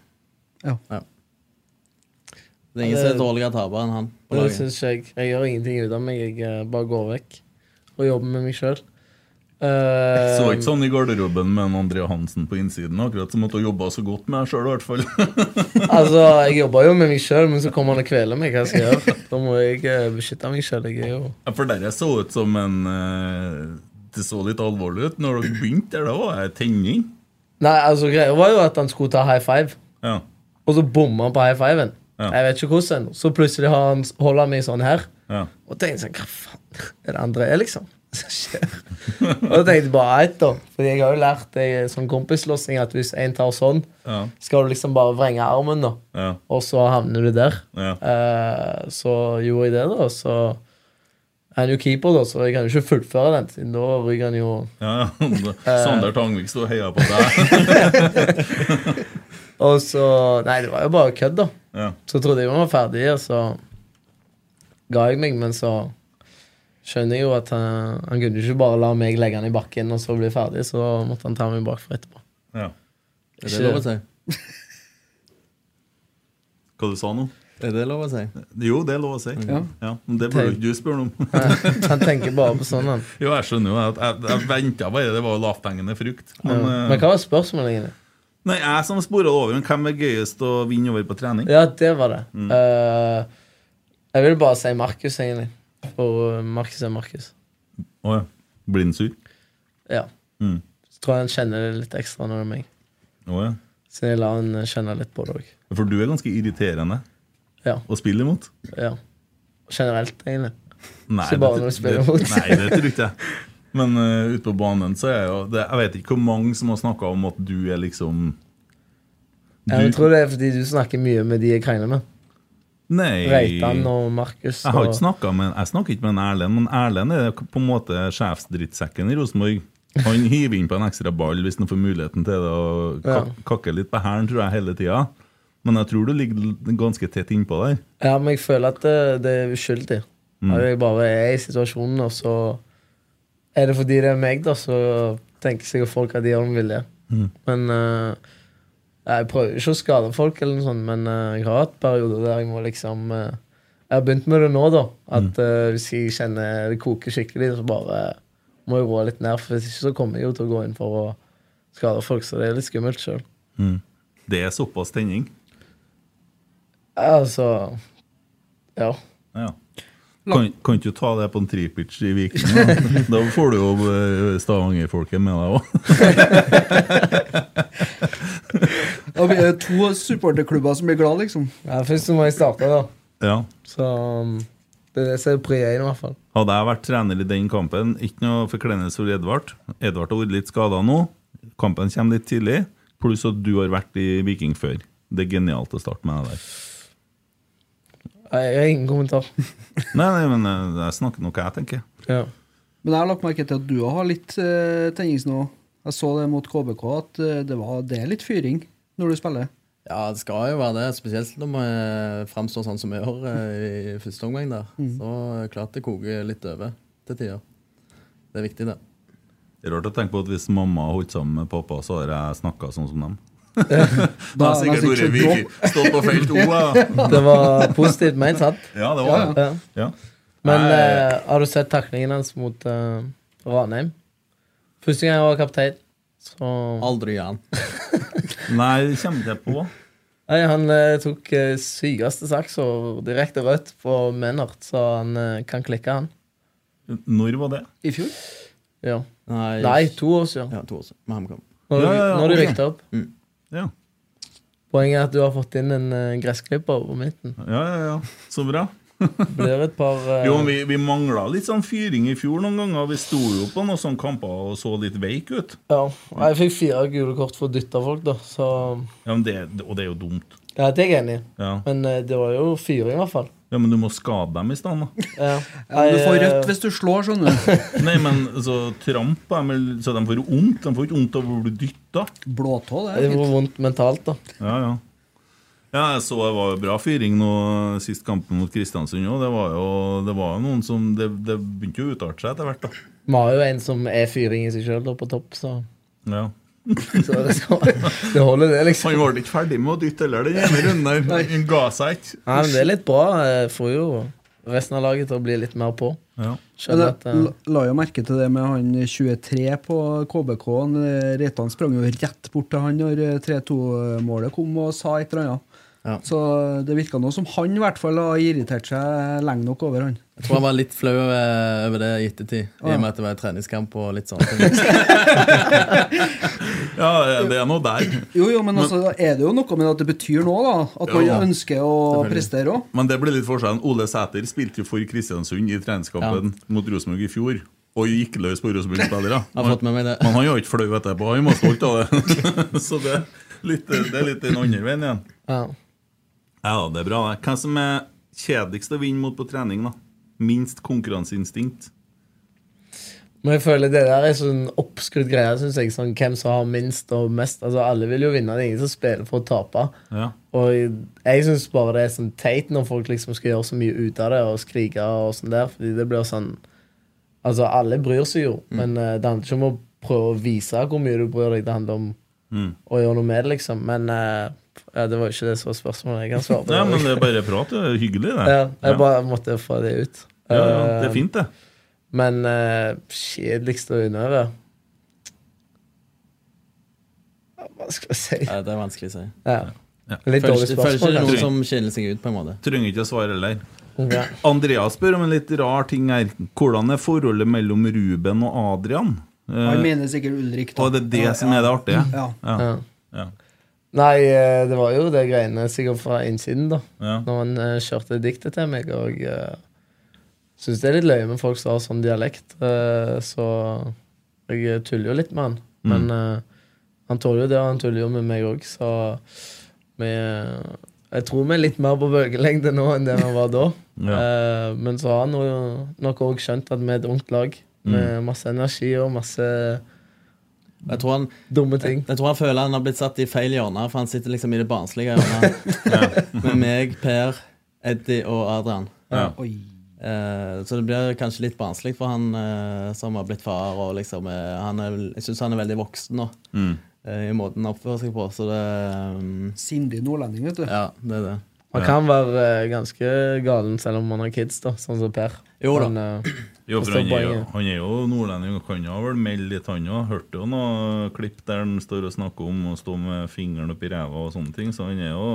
Ja. Det er ingen Ja, som det- er dårligere taper enn han. på Det laget. syns jeg. Jeg gjør ingenting ut av meg. Jeg eh, bare går vekk og jobber med meg sjøl. Så var ikke sånn i garderoben med en Andrea Hansen på innsiden, akkurat som at hun jobba så godt med deg sjøl, i hvert fall. <laughs> altså, jeg jobber jo med meg sjøl, men så kommer han og kveler meg. Hva skal jeg gjøre? Da må jeg eh, beskytte meg sjøl. Jeg er jo Ja, For dere så ut som en eh, Det så litt alvorlig ut når dere begynte der, da var jeg tenning. Nei, altså greia var jo at han skulle ta high five, Ja. og så bomma han på high fiven. Ja. Jeg vet ikke hvordan. Så plutselig har han, holder han meg sånn her. Ja. Og tenkte sånn, hva faen <laughs> er det andre er, liksom? Hva skjer? Og da tenkte jeg bare ett, da. For jeg har jo lært det i sånn kompisslåssing at hvis en tar sånn, Ja. skal du liksom bare vrenge armen, da. Ja. Og så havner du der. Ja. Eh, så gjorde jeg det, da. Så er han jo keeper, da, så jeg kan jo ikke fullføre den. siden Da ryker han jo Ja, ja. <laughs> Sander Tangvik sto og heia på <laughs> deg. Og så Nei, det var jo bare kødd, da. Ja. Så trodde jeg vi var ferdig, og så ga jeg meg, men så skjønner jeg jo at han, han kunne ikke bare la meg legge han i bakken og så bli ferdig, så måtte han ta meg bakfra etterpå. Ja. Er det lov å si? Hva du sa nå? Er det lov å <laughs> si? Jo, det er lov å si. Mm. Ja. men det burde jo ikke du spørre om. Han tenker bare på sånn, han. <laughs> Jo, jeg skjønner jo at jeg, jeg venta bare, det var jo lavthengende frukt. Men, Ja. eh, Men hva var spørsmålet egentlig? nei, jeg som spora det over, men hvem er gøyest å vinne over på trening? Ja, det var det. Mm. Eh, jeg vil bare si Markus, egentlig. For eh, Markus er Markus. Å ja. Blindsur? Ja. Mm. Så tror jeg han kjenner det litt ekstra når det er meg. Å ja. Så jeg lar han eh, kjenne litt på det òg. For du er ganske irriterende Ja. å spille imot. ja. Generelt, egentlig. Nei, Så bare det- når du spiller det- mot. Nei, det tror ikke jeg. Men eh, ute på banen så er jeg jo det, Jeg vet ikke hvor mange som har snakka om at du er liksom Ja, men Jeg tror det er fordi du snakker mye med de jeg krangler med. Nei. Reitan og Markus. Jeg har og- ikke snakket med, jeg snakker ikke med en Erlend, men Erlend er på en måte sjefsdrittsekken i Rosenborg. Han hiver inn på en ekstra ball hvis han får muligheten til det, og ka- Ja. kakker litt på hælen, tror jeg, hele tida. Men jeg tror du ligger l- ganske tett innpå der. Ja, men jeg føler at eh, det, det er uskyldig. Mm. At jeg bare er i situasjonen, og så er det fordi det er meg, da, så tenker sikkert folk at de gjør en vilje. Mm. Men eh, jeg prøver ikke å skade folk, eller noe sånt, men eh, jeg har hatt perioder der jeg må liksom eh, Jeg har begynt med det nå, da. At Mm. eh, hvis jeg kjenner det koker skikkelig, så bare må jeg roe litt ned. For hvis ikke så kommer jeg jo til å gå inn for å skade folk, så det er litt skummelt sjøl. Det er såpass tenning. Altså Ja. Ja. Kan, kan ikke du ta det på en tripitch i Viken? Da? da får du jo eh, Stavanger-folket med deg òg. Da blir det to supporterklubber som blir glad, liksom. ja først så må jeg starte, da. Ja. Så um, det er det som er pri én, i hvert fall. Hadde jeg vært trener i den kampen, ikke noe forkleinelse for Edvard. Edvard har vært litt skada nå. Kampen kommer litt tidlig. Pluss at du har vært i Viking før. Det er genialt å starte med det der. Nei, Jeg har ingen kommentar. Nei, nei, men eh, jeg snakker nå hva jeg tenker. Ja. Men jeg har lagt merke til at du har litt uh, tennings nå. Jeg så det mot KBK, at eh, det, var, det er litt fyring når du spiller. Ja, det skal jo være det. Spesielt når vi framstår sånn som vi gjør eh, i første omgang. der. Mm. Så er det klart det koker litt over til tider. Det er viktig, det. Det er rart å tenke på at hvis mamma har holdt sammen med pappa, så har jeg snakka sånn som <laughs> dem. Da er det nesten ikke Viking. Stått på feil to, ja. Det var positivt ment, sant? <laughs> <laughs> Ja, det var det. Ja. Ja. Men Nei, eh, har du sett taklingen hans mot eh, Ranheim? Første gang jeg var kaptein, så Aldri gjør han. nei, det kommer jeg på. Nei, Han eh, tok uh, sykeste saks og direkte rødt på Menard, så han eh, kan klikke, han. Når var det? I fjor? Ja. Nei, Nei, to år siden. Ja, to år siden. Med HamKam. Når, Ja, ja, ja, når de ok. Mm. rykket opp. Poenget er at du har fått inn en eh, gressklipper på midten. Ja, ja, ja. Så bra. Blir et par eh, Jo, men vi, vi mangla litt sånn fyring i fjor noen ganger. Vi sto jo på noen sånne kamper og så litt veik ut. Ja. Nei, Jeg fikk fire gule kort for å dytte folk, da, så Ja, men det, og det er jo dumt. ja, Det er jeg enig i. Ja. Men eh, det var jo fyring, i hvert fall. ja, Men du må skade dem i stedet, da. Ja. Ja, men du får eh, rødt hvis du slår, skjønner du. Nei, men så tramp dem, eller- så de får jo vondt. De får ikke vondt av å bli dytta. Blåtå, det eh, Det er fint. var vondt mentalt, da. Ja, ja. Ja, jeg så det var jo bra fyring nå sist kampen mot Kristiansund òg. Det var jo det var jo noen som Det, det begynte jo å utarte seg etter hvert, da. Vi har jo en som er fyring i seg sjøl på topp, så, Ja. så det, skal, <laughs> det holder, det, liksom. Han ble ikke ferdig med å dytte heller, den ene runden der. Han ga seg ikke. Nei, men det er litt bra. eh, Får jo resten av laget til å bli litt mer på. Ja. Men Skjønner at jeg eh, la- la jo merke til det med han 23 på KBK. Han, eh, Reitan sprang jo rett bort til han når eh, 3-2-målet kom og sa et eller annet. Ja. Så det virka nå som han i hvert fall har irritert seg lenge nok over han. Jeg tror jeg var litt flau eh, over det i ettertid, i ja. og med at det var en treningskamp og litt sånne ting. ja, det er noe der. Jo, jo, men altså, er det jo noe med at det betyr noe, da. At man Ja. ønsker å prestere òg. Men det ble litt forskjellen. Ole Sæter spilte jo for Kristiansund i treningskampen mot Rosenborg i fjor. Og gikk løs på Rosenborg-spillere. Jeg har fått med meg det. Men han var jo ikke flau etterpå. Han var stolt av det. <laughs> Så det, er litt, det er litt den andre veien igjen. ja. Ja, det er bra. det. Hvem som er kjedeligst å vinne mot på trening? da? Minst konkurranseinstinkt? Men jeg føler det der er sånn oppskrytt greie, synes jeg. Sånn, hvem som har minst og mest. Altså, alle vil jo vinne. Det er ingen som spiller for å tape. Ja. Og jeg, jeg syns bare det er sånn teit når folk liksom skal gjøre så mye ut av det og skrike og sånn der. Fordi det blir sånn Altså, alle bryr seg jo, Mm. men eh, det handler ikke om å prøve å vise hvor mye du bryr deg. Det handler om Mm. å gjøre noe med det, liksom. Men eh, ja, det var jo ikke det som var spørsmålet. Jeg kan svare <laughs> på Nei, men det. det er bare prat. Det er hyggelig, det. Ja, Ja. jeg bare måtte få det ut. Ja, ja, det Eh, er fint, det. men eh, kjedeligst å underøve Ja, Hva skal jeg si? Ja, det er vanskelig å si. Ja. Ja. Litt Føler dårlig ikke, føler ikke spørsmål, det er kanskje. noen som skiller seg ut, på en måte. Trenger ikke å svare heller. Ja. Andreas spør om en litt rar ting her. Hvordan er forholdet mellom Ruben og Adrian? Eh, Han mener sikkert Ulrik. da. og det er det som er det artige? Ja. Ja. Ja. Ja. Nei, eh, det var jo det greiene sikkert fra innsiden, da. Ja. Når han eh, kjørte diktet til meg, og uh, syns det er litt løye med folk som har sånn dialekt, eh, så jeg eh, tuller jo litt med han. Mm. Men eh, han tåler jo det, og han tuller jo med meg òg, så vi eh, Jeg tror vi er litt mer på bølgelengde nå enn det vi var <laughs> da. Eh, men så har han jo nok òg skjønt at vi er et ungt lag Mm. med masse energi og masse Jeg tror han, dumme ting. jeg, jeg tror han føler han har blitt satt i feil hjørne, for han sitter liksom i det <laughs> barnslige hjørnet med meg, Per, Eddie og Adrian. Oi. Eh, så det blir kanskje litt barnslig for han eh, som har blitt far. Og liksom, eh, han er, vel- jeg syns han er veldig voksen nå, Mm. eh, i måten han oppfører seg på. Så det mm, Sindig nordlending, vet du. Ja, det er det. Han kan være eh, ganske galen selv om han har kids, da, sånn som Per. Jo da. Men, eh, Jo, for Forstår han er, jo, poenget. han er jo nordlending og kan jo vel melde litt, han òg. Hørte jo noe klipp der han står og snakker om å stå med fingeren oppi ræva og sånne ting, så han er jo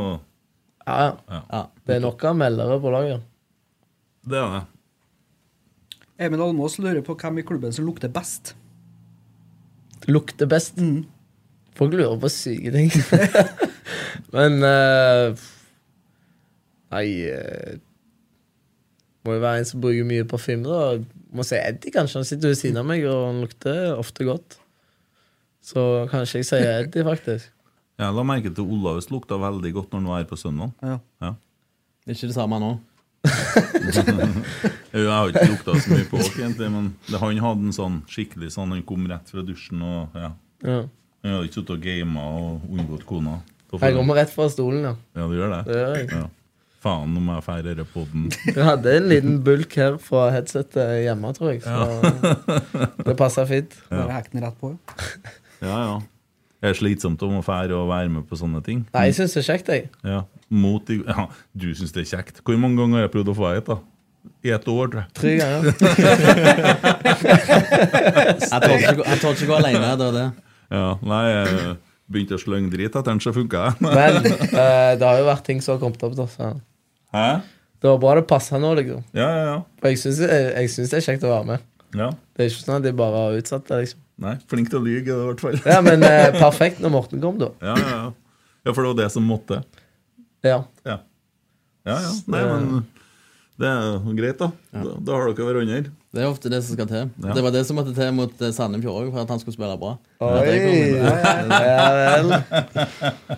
ja, ja. Ja. Det er nok av meldere på laget. Det er det. Emil Almås lurer på hvem i klubben som lukter best. Lukter best. Folk lurer på syke ting. <laughs> Men eh, Nei eh, Må jo være en som bruker mye parfyme, da. Må si Eddie, kanskje. Han sitter ved siden av meg, og han lukter ofte godt. Så kanskje jeg sier Eddie, faktisk. Jeg la merke til Olaus lukta veldig godt når han var her på søndag. <laughs> Ja. Ja. Det er ikke det samme nå. Jo, Jeg har ikke lukta så mye på oss, egentlig, men det, han hadde en sånn skikkelig sånn Han kom rett fra dusjen og ja. Ja. Han hadde ikke sittet og gama og unngått kona. Da får Jeg kommer rett fra stolen, ja. han- Ja, du gjør Det det? gjør jeg. Ja. Faen, nå må jeg feire denne poden. Jeg hadde en liten bulk her fra headsetet hjemme, tror jeg. Så <laughs> det passer fint. Bare hekk den rett på. jo. Ja, <laughs> ja. Det er slitsomt om å fære og være med på sånne ting. Nei, jeg syns det er kjekt, jeg. Ja. Mot i, ja, du syns det er kjekt. Hvor mange ganger har jeg prøvd å få et, da? I et år, tror jeg. Tre ganger. Jeg tålte ikke, gå- jeg tålte ikke gå alene. Det var det. Ja, nei, jeg begynte å slenge drit etter den, så funka jeg. <laughs> Men eh, det har jo vært ting som har kommet opp, da. Så. Hæ? Det var bra det passa nå, liksom. Ja, ja, ja. For jeg syns det er kjekt å være med. ja. Det er ikke sånn at jeg bare har utsatt det, liksom. Nei, flink til å lyge, i hvert fall. Ja, men eh, perfekt når Morten kom, da. Ja, ja, ja. Ja, for det var det som måtte. Ja. Ja, ja. ja. Nei, men det er jo greit, da. Da, da har dere hverandre. Det er ofte det som skal til. Ja. Det var det som måtte til mot eh, Sandefjord òg, for at han skulle spille bra. Oi, At jeg kom inn.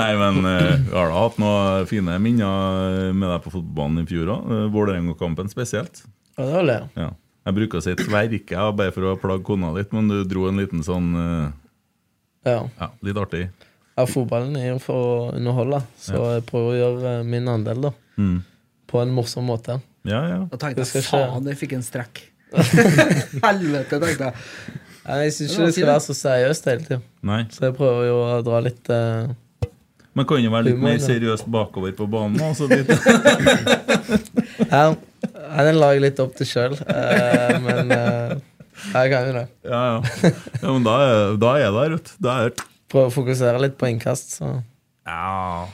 Nei, men eh, vi har da hatt noen fine minner med deg på fotballen i fjor òg. Vålerenga-kampen spesielt. Ja, det var det. Ja. Jeg bruker å si tverke ja, bare for å plage kona litt, men du dro en liten sånn eh, Ja. ja, litt artig. ja, fotballen er jo for å underholde, så Ja. jeg prøver å gjøre eh, min andel, da. Mm. På en morsom måte. Ja, ja. Da tenkte Det skal jeg skje. faen, jeg fikk en strekk. Helvete, tenkte jeg. Nei, Jeg var syns ikke det skal fint. være så seriøst hele tida, Nei. så jeg prøver jo å dra litt eh, Men kan jo være litt Humor, mer ja. seriøst bakover på banen. Altså litt, Ja, ja, den la jeg litt opp til sjøl, men eh, jeg kan jo det. <laughs> ja, ja. ja, men da er, da er det rødt. Da er det Prøve å fokusere litt på innkast, så Ja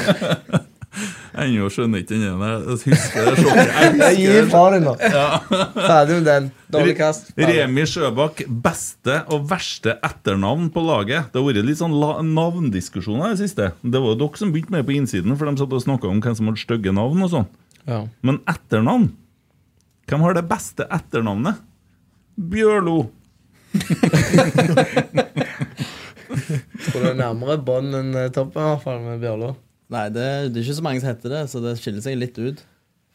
<laughs> Ennå skjønner ikke den ene. Jeg husker det sjokket. Jeg Jeg gir husker fra deg nå. Ferdig med den. Dårlig kast. Ferdig. Remi Sjøbakk, beste og verste etternavn på laget. Det har vært litt sånn la- navndiskusjoner i det siste. Det var jo dere som begynte med det på innsiden, for de satt og snakka om hvem som hadde stygge navn og sånn. Ja. Men etternavn? Hvem har det beste etternavnet? Bjørlo. Tror du er nærmere bånd enn eh, toppen, i hvert fall, med Bjørlo. Nei, det, det er ikke så mange som heter det, så det skiller seg litt ut.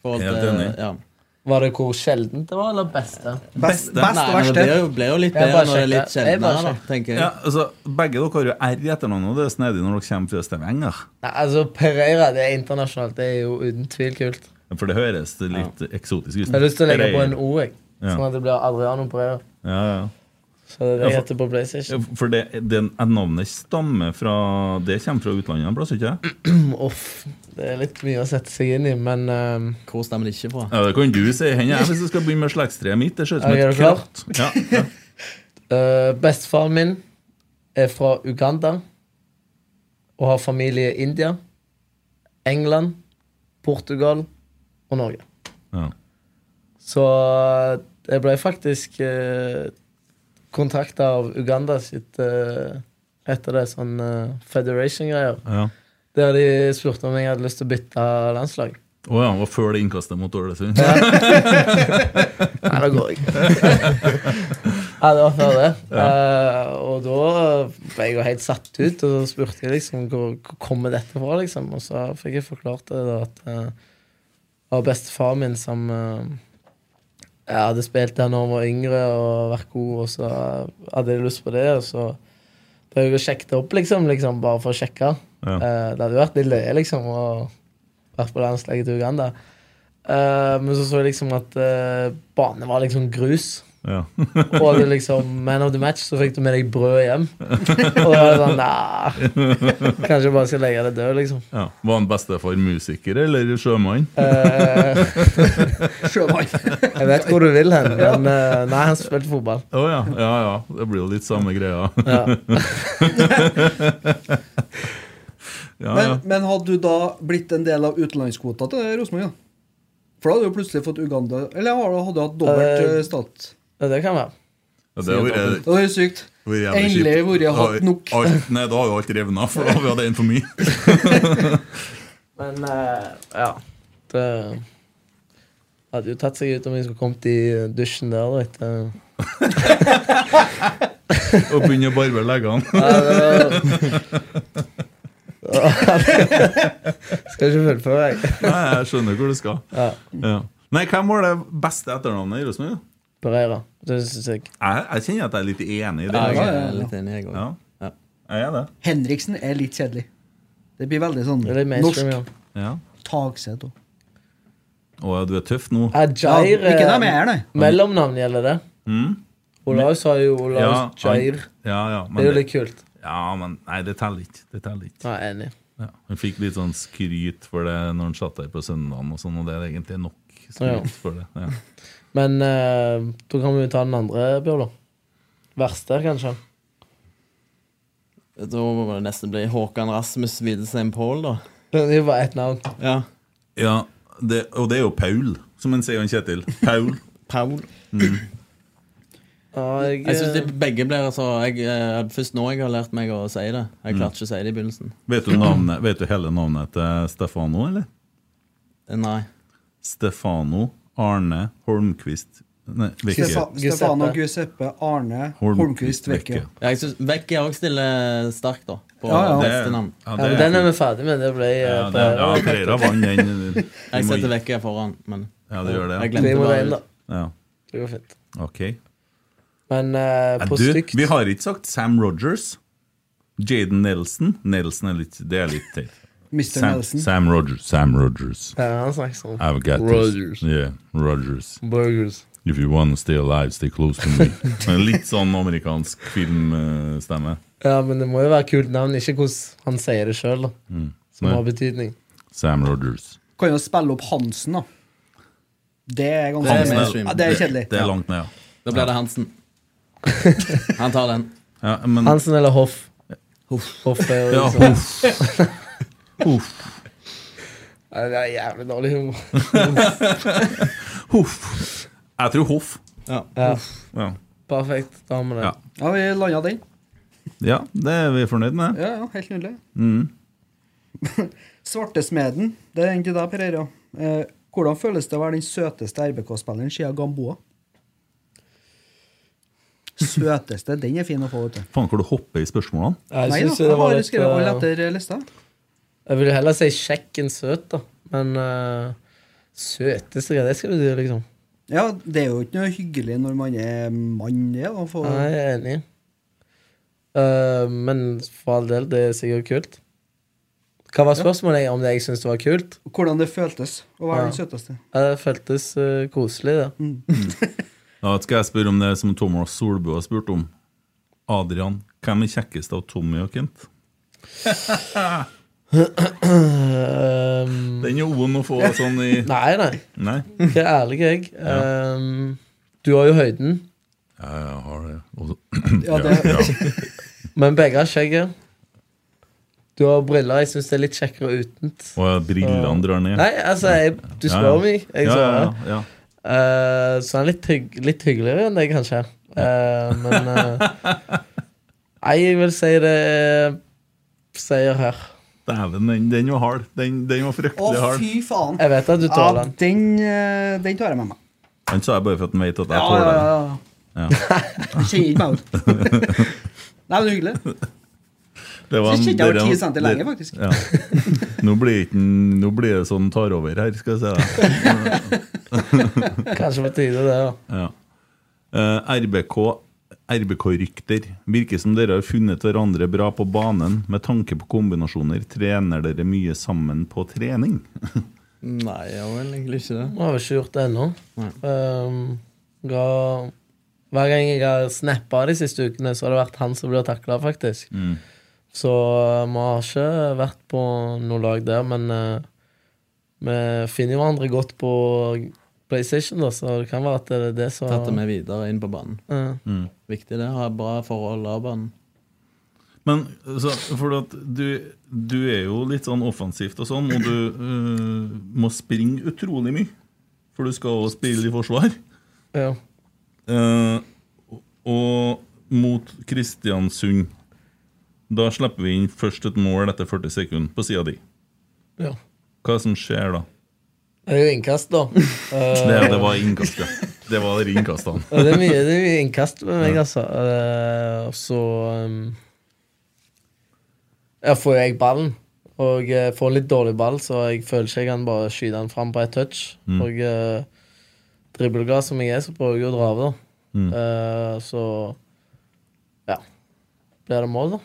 For at, Helt enig. eh, Ja. Var det hvor sjeldent det var, eller beste? Best, Beste. best Nei, og men det verste. blir jo, blir jo litt Jeg bedre bare når det er litt sjekker. Jeg bare sjeldnere, da, tenker jeg. Ja, altså, begge dere har jo R i etternavnet, og det er snedig når dere kommer fra Stavanger. Nei, altså Pereira det er internasjonalt. Det er jo uten tvil kult. For det høres litt eksotisk ut. Jeg har lyst til å legge på en O, jeg. Ja. Sånn at det blir Adriano Pereira. Ja, ja. Så det er det Ja, jeg for- heter på Ja, PlayStation. For det, den navnet stammer fra Det kommer fra utlandet en plass, ikke det? Mm, Uff. Det er litt mye å sette seg inn i, men ehm, Hvor stemmer det ikke fra? Ja, det kan du si. Hen er jeg hvis jeg skal begynne med slektstreet mitt. Det ser ut som Er et du klar? kratt. Ja, ja. eh, Bestefaren min er fra Uganda og har familie i India, England, Portugal og Norge. Ja. Så eh, jeg ble faktisk eh, kontakta av Uganda sitt eh, etter det sånn eh, Federation-greier. Ja. Der de spurte om jeg hadde lyst til å bytte landslag. Å ja, det var før det innkastet mot Ålesund. Nei, da går jeg. <laughs> ja, det var før det. Eh, og da ble jeg jo helt satt ut, og så spurte jeg liksom hvor, hvor kommer dette fra, liksom. Og så fikk jeg forklart det da at eh, det var bestefaren min som eh, jeg hadde spilt der når han var yngre og vært god, og så hadde jeg lyst på det, og så prøvde jeg å sjekke det opp, liksom, liksom bare for å sjekke. Ja. Eh, det hadde jo vært litt løye, liksom, å vært på landslaget til Uganda. Eh, men så så jeg liksom at uh, banen var liksom grus. Ja. Og du liksom Man of the match, så fikk du med deg brød hjem. Og da var det sånn Nei, kanskje jeg bare skal legge det død, liksom. Ja. Var han bestefar musiker eller sjømann? Eh, Sjømann. jeg vet hvor du vil hen, men eh, nei, han spilte fotball. Å ja. ja, ja. Det blir jo litt samme greia. Ja. Ja, ja. Men, men hadde du da blitt en del av utenlandskvota til Rosenborg, da? For da hadde du jo plutselig fått Uganda Eller har du- hadde du hatt dobbelt eh, Eh, stat? Ja, Det kan være. Ja, det har vært- Det hadde vært sykt. vært jævlig Endelig kjipt. hvor jeg har hatt nok. Alt, nei, da har jo alt revna, for da har vi hatt en for mye. Men eh, ja. Det hadde jo tatt seg ut om jeg skulle kommet i dusjen der. da, etter... Og begynne å barbere leggene. Nei, det var- Skal ikke fullføre, jeg. Nei, jeg skjønner hvor du skal. Ja. Ja. Nei, hvem var det beste etternavnet i Rosenborg? da? Pereira. Det syns jeg. Jeg, jeg kjenner at jeg er litt enig i det. Ja, jeg altså. ja, er ja. litt enig, jeg òg. Ja. Ja. Jeg er det. Henriksen er litt kjedelig. Det blir veldig sånn Det er litt mainstream, ja. norsk Ja. taksete. Å ja, du er tøff nå. Ajair Ja, ikke dem jeg er, nei. Mellomnavn gjelder det. Mm. Olaus har jo Olaus han- Jair. Ja, ja, Det er jo men, litt det, kult. ja, men nei, det teller ikke. Det teller ikke. Ja, enig. Ja. Hun fikk litt sånn skryt for det når hun satt der på søndagen, og sånn, og det er egentlig nok Ja. skryt for det. Ja. Men eh, da kan vi jo ta den andre, Bjørlo. Verste, kanskje. Da må det nesten bli Håkan Rasmus Widesheim Paul, da. <laughs> Det er jo bare ett navn. Ja. Ja, Mm. det, og det er jo Paul, som han sier han Kjetil. Paul. Paul. jeg, eh, Jeg synes de begge blir altså, jeg, eh, Først nå jeg har lært meg å si det. Mm. Jeg klarte ikke å si det i begynnelsen. Vet du, navnet, vet du hele navnet til Stefano, eller? Eh, Nei. Stefano Arne Holmquist Nei, Vekke. Stefa, Stefano Giuseppe Arne Holm- Holmquist Vekke. Ja, jeg synes Vekk er også stille sterkt, da. På Ja, ja. neste navn. Ja, ja, men Den er vi ferdig med. Det ble eh, Ja, det, på- ja Pereira vant den. Vi Jeg må- setter Vekk foran, men Ja, det gjør jeg det. ja. Vi glemte må bare inn, da. ut. Ja, Det går fint. ok. Men eh, Ja, på du, stygt vi har ikke sagt Sam Rogers. Jaden Nelson. Nelson er litt Det er litt teit. Mr. Sam, Nelson. Sam Rogers. Sam Rogers. ja, Han snakker sånn. I've got Rogers. this. Yeah, Rogers. Burgers. If you want to stay alive, stay close to me. En litt sånn amerikansk filmstemme. Ja, men det må jo være kult navn, ikke hvordan han sier det sjøl, som Mm. Nei. har betydning. Sam Rogers. Kan jo spille opp Hansen, da. Det er ganske Hansen er- ja, det er kjedelig. Det er langt ned, ja. Da blir det Hansen. Han tar den. ja men, Hansen eller Hoff? Hoff er jo ja, liksom huff. Huff. Nei, Det er jævlig dårlig humor. Huff. Jeg tror Hoff. Ja. Ja, Ja. perfekt. Da har vi det. Ja. Ja, vi landa den. ja, det er vi fornøyd med. Ja, ja, helt nydelig. <laughs> Svartesmeden, det er den til deg, Per Eira. Eh, hvordan føles det å være den søteste RBK-spilleren siden Gamboa? Søteste, den er fin å få, vet du. Faen, hvor du hopper i spørsmålene. Jeg Nei da, synes jeg det var har litt skrevet alle eh, etter lista. Jeg vil heller si kjekk enn søt, da. Men eh, søteste greia, det skal bety liksom. Ja, det er jo ikke noe hyggelig når man er mann, det, da. å få- Nei, jeg er enig. Eh, men for all del, det er sikkert kult. Hva var spørsmålet om det jeg syntes var kult? Hvordan det føltes å være Ja. den søteste. Eh, Det føltes eh, koselig, det. Ja, skal jeg spørre om det som Thomas Solbø har spurt om? Adrian, hvem er kjekkest av Tommy og Kent? Ehm, Den er vond å få sånn i <laughs> nei, nei. Nei? Ikke ærlig, jeg. Ehm, du har jo høyden, Ja, jeg har det. Og så- Ja, det- <clears throat> ja. men begge har skjegget. Du har briller. Jeg syns det er litt kjekkere utent. Og ja, brillene drar ned. Nei, altså, jeg, du Ja, spør ja. meg. Jeg ja, svarer. ja, ja, ja. Eh, så han er litt, hygg, litt hyggeligere enn deg, kanskje. Eh, men eh, Nei, jeg vil si det er seier her. Dæven, den, den var hard. Den, den var Å, fryktelig hard. fy faen! Jeg vet at du tåler Ja, den. den, eh, den tar jeg med meg. Den sa jeg bare for at den vet at jeg Ja, tåler ja, den. ja. <laughs> Jeg Kjenner ikke meg ut. Nei, men hyggelig. Det var Jeg en- kjente jeg var dere- ti center lenger, dere- faktisk. Ja. Nå blir ikke den- nå blir det sånn tar over her, skal jeg si deg. Kanskje på tide, det. da Ja. Eh, RBK RBK-rykter. Virker som dere har funnet hverandre bra på banen. Med tanke på kombinasjoner, trener dere mye sammen på trening? Nei, jeg vil egentlig ikke det. Nå har vi ikke gjort det ennå. Nei. Ehm, ga, hver gang jeg har snappa de siste ukene, så har det vært han som blir takla, faktisk. Så eh, vi har ikke vært på noe lag der, men eh, vi finner jo hverandre godt på PlayStation, da, så det kan være at det er det som Tatt det med videre inn på banen. Ja. Viktig det. Ha bra forhold av banen. Men så, for at du, du er jo litt sånn offensivt og sånn, og du eh, må springe utrolig mye. For du skal også spille i forsvar. Ja. Eh, og mot Kristiansund Da slipper vi inn først et mål etter 40 sekunder på sida di. ja. Hva som skjer da? Det er jo innkast, da. Eh, Det, det var innkastet. Det var de innkastene. Ja, det, er mye, <laughs> det er mye innkast med meg, altså. Eh, Og så ehm, Ja, får jeg ballen. Og jeg får litt dårlig ball, så jeg føler ikke jeg kan bare skyte den fram på ett touch. Mm. Og eh, dribbelglad som jeg er, så prøver jeg å dra av, da. Mm. Eh, så ja. Blir det mål, da?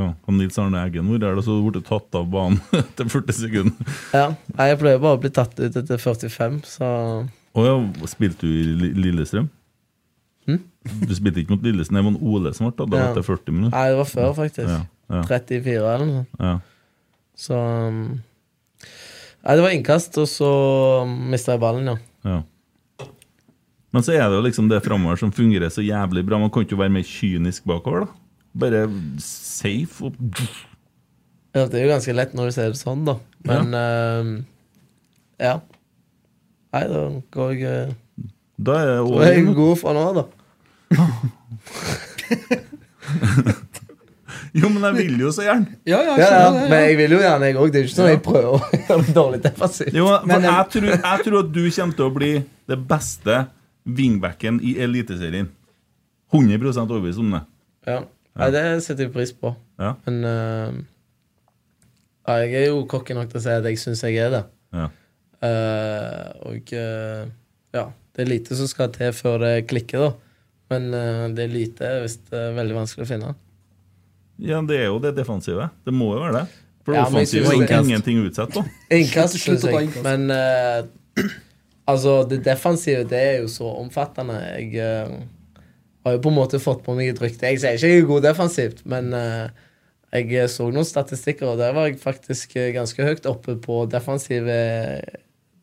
Ja, og Nils Arne Eggen, hvor er det så blitt tatt av banen <laughs> etter 40 sekunder? Ja. Nei, jeg pleier bare å bli tatt ut etter 45, så Å ja, spilte du i Li- Lillestrøm? Du spilte ikke mot Lillestrøm, det var en Ole som ble tatt av Hm? Ja. etter 40 minutter. Nei, det var før, faktisk. Ja, ja. 34 eller noe sånt. Ja. Så um, Nei, det var innkast, og så mista jeg ballen, ja. Ja. Men så er det jo liksom det framover som fungerer så jævlig bra. Man kan ikke være mer kynisk bakover, da. Bare safe og ja. Det er jo ganske lett når du ser det sånn, da. Men um, ja. Nei, da går jeg eh, Da er det Da er jeg over. god for nå, da. Jo, men jeg vil jo så gjerne. Ja, ja, Ja, jeg skjønner ja, det, men ja. jeg vil jo gjerne, jeg òg. Det er jo ikke sånn at jeg prøver å <laughs> gjøre det dårlig defensivt. Jo, for Men- jeg, tror, jeg tror at du kommer til å bli det beste wingbacken i Eliteserien. 100 overbevist om det. Ja. Nei, det setter jeg pris på. Ja. Men eh, ja, jeg er jo cocky nok til å si at jeg syns jeg er det. Ja. Eh, og eh, ja, det er lite som skal til før det klikker, da. Men eh, det er lite er visst eh, veldig vanskelig å finne. ja, det er jo det defensive. Det må jo være det. For Ja, men jeg offensiv synes er det er- ingenting utsatt på. Innkast, Slutt å syns ta jeg. innkast. Men eh, altså, det defensive, det er jo så omfattende. Jeg eh, har jo på en måte fått på meg et rykte. Jeg sier ikke jeg er god defensivt, men eh, jeg så noen statistikker, og der var jeg faktisk eh, ganske høyt oppe på defensive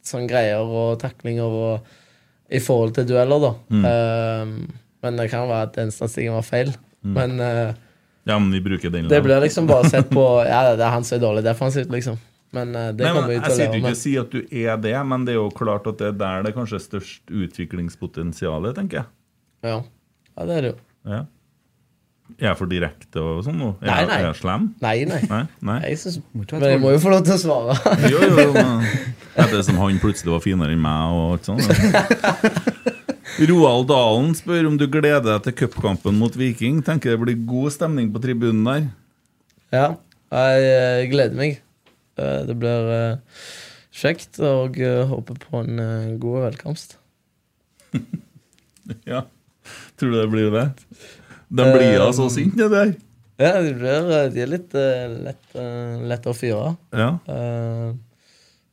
sånn greier og taklinger og i forhold til dueller, da. Mm. Eh, men det kan være at den statistikken var feil. Mm. Men eh, Ja, men vi bruker den. det blir liksom bare sett på Ja, det er han som er dårlig defensivt, liksom. Men eh, det Nei, kommer vi men Jeg til å leve sitter jo ikke med. og sier at du er det, men det er jo klart at det er der det kanskje er størst utviklingspotensial, tenker jeg. Ja. ja, det er det jo. Ja. Er jeg for direkte og sånn nå? Er Nei, jeg- nei. Er jeg slem? Nei, nei. Nei? nei. Jeg synes, ikke være men jeg må jo få lov til å svare. <laughs> Jo, jo, jo. men- Er det som han plutselig var finere enn meg og alt sånt? da? Roald Dalen spør om du gleder deg til cupkampen mot Viking. Tenker det blir god stemning på tribunen der. ja, jeg eh, gleder meg. Eh, Det blir eh, kjekt, og eh, håper på en eh, god velkomst. Ja. Tror du det blir det? De blir Eh, altså sinte, det der. Ja, de, blir, eh, de er litt eh, lett, eh, lette å fyre. Ja. Eh,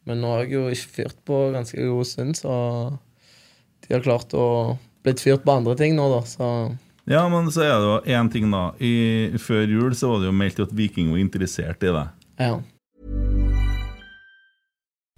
Men nå har jeg jo ikke fyrt på ganske god stund, så de har klart å blitt fyrt på andre ting nå, da. Så ja, men så er det jo én ting, da. I, før jul så var det jo meldt at Viking var interessert i deg. ja.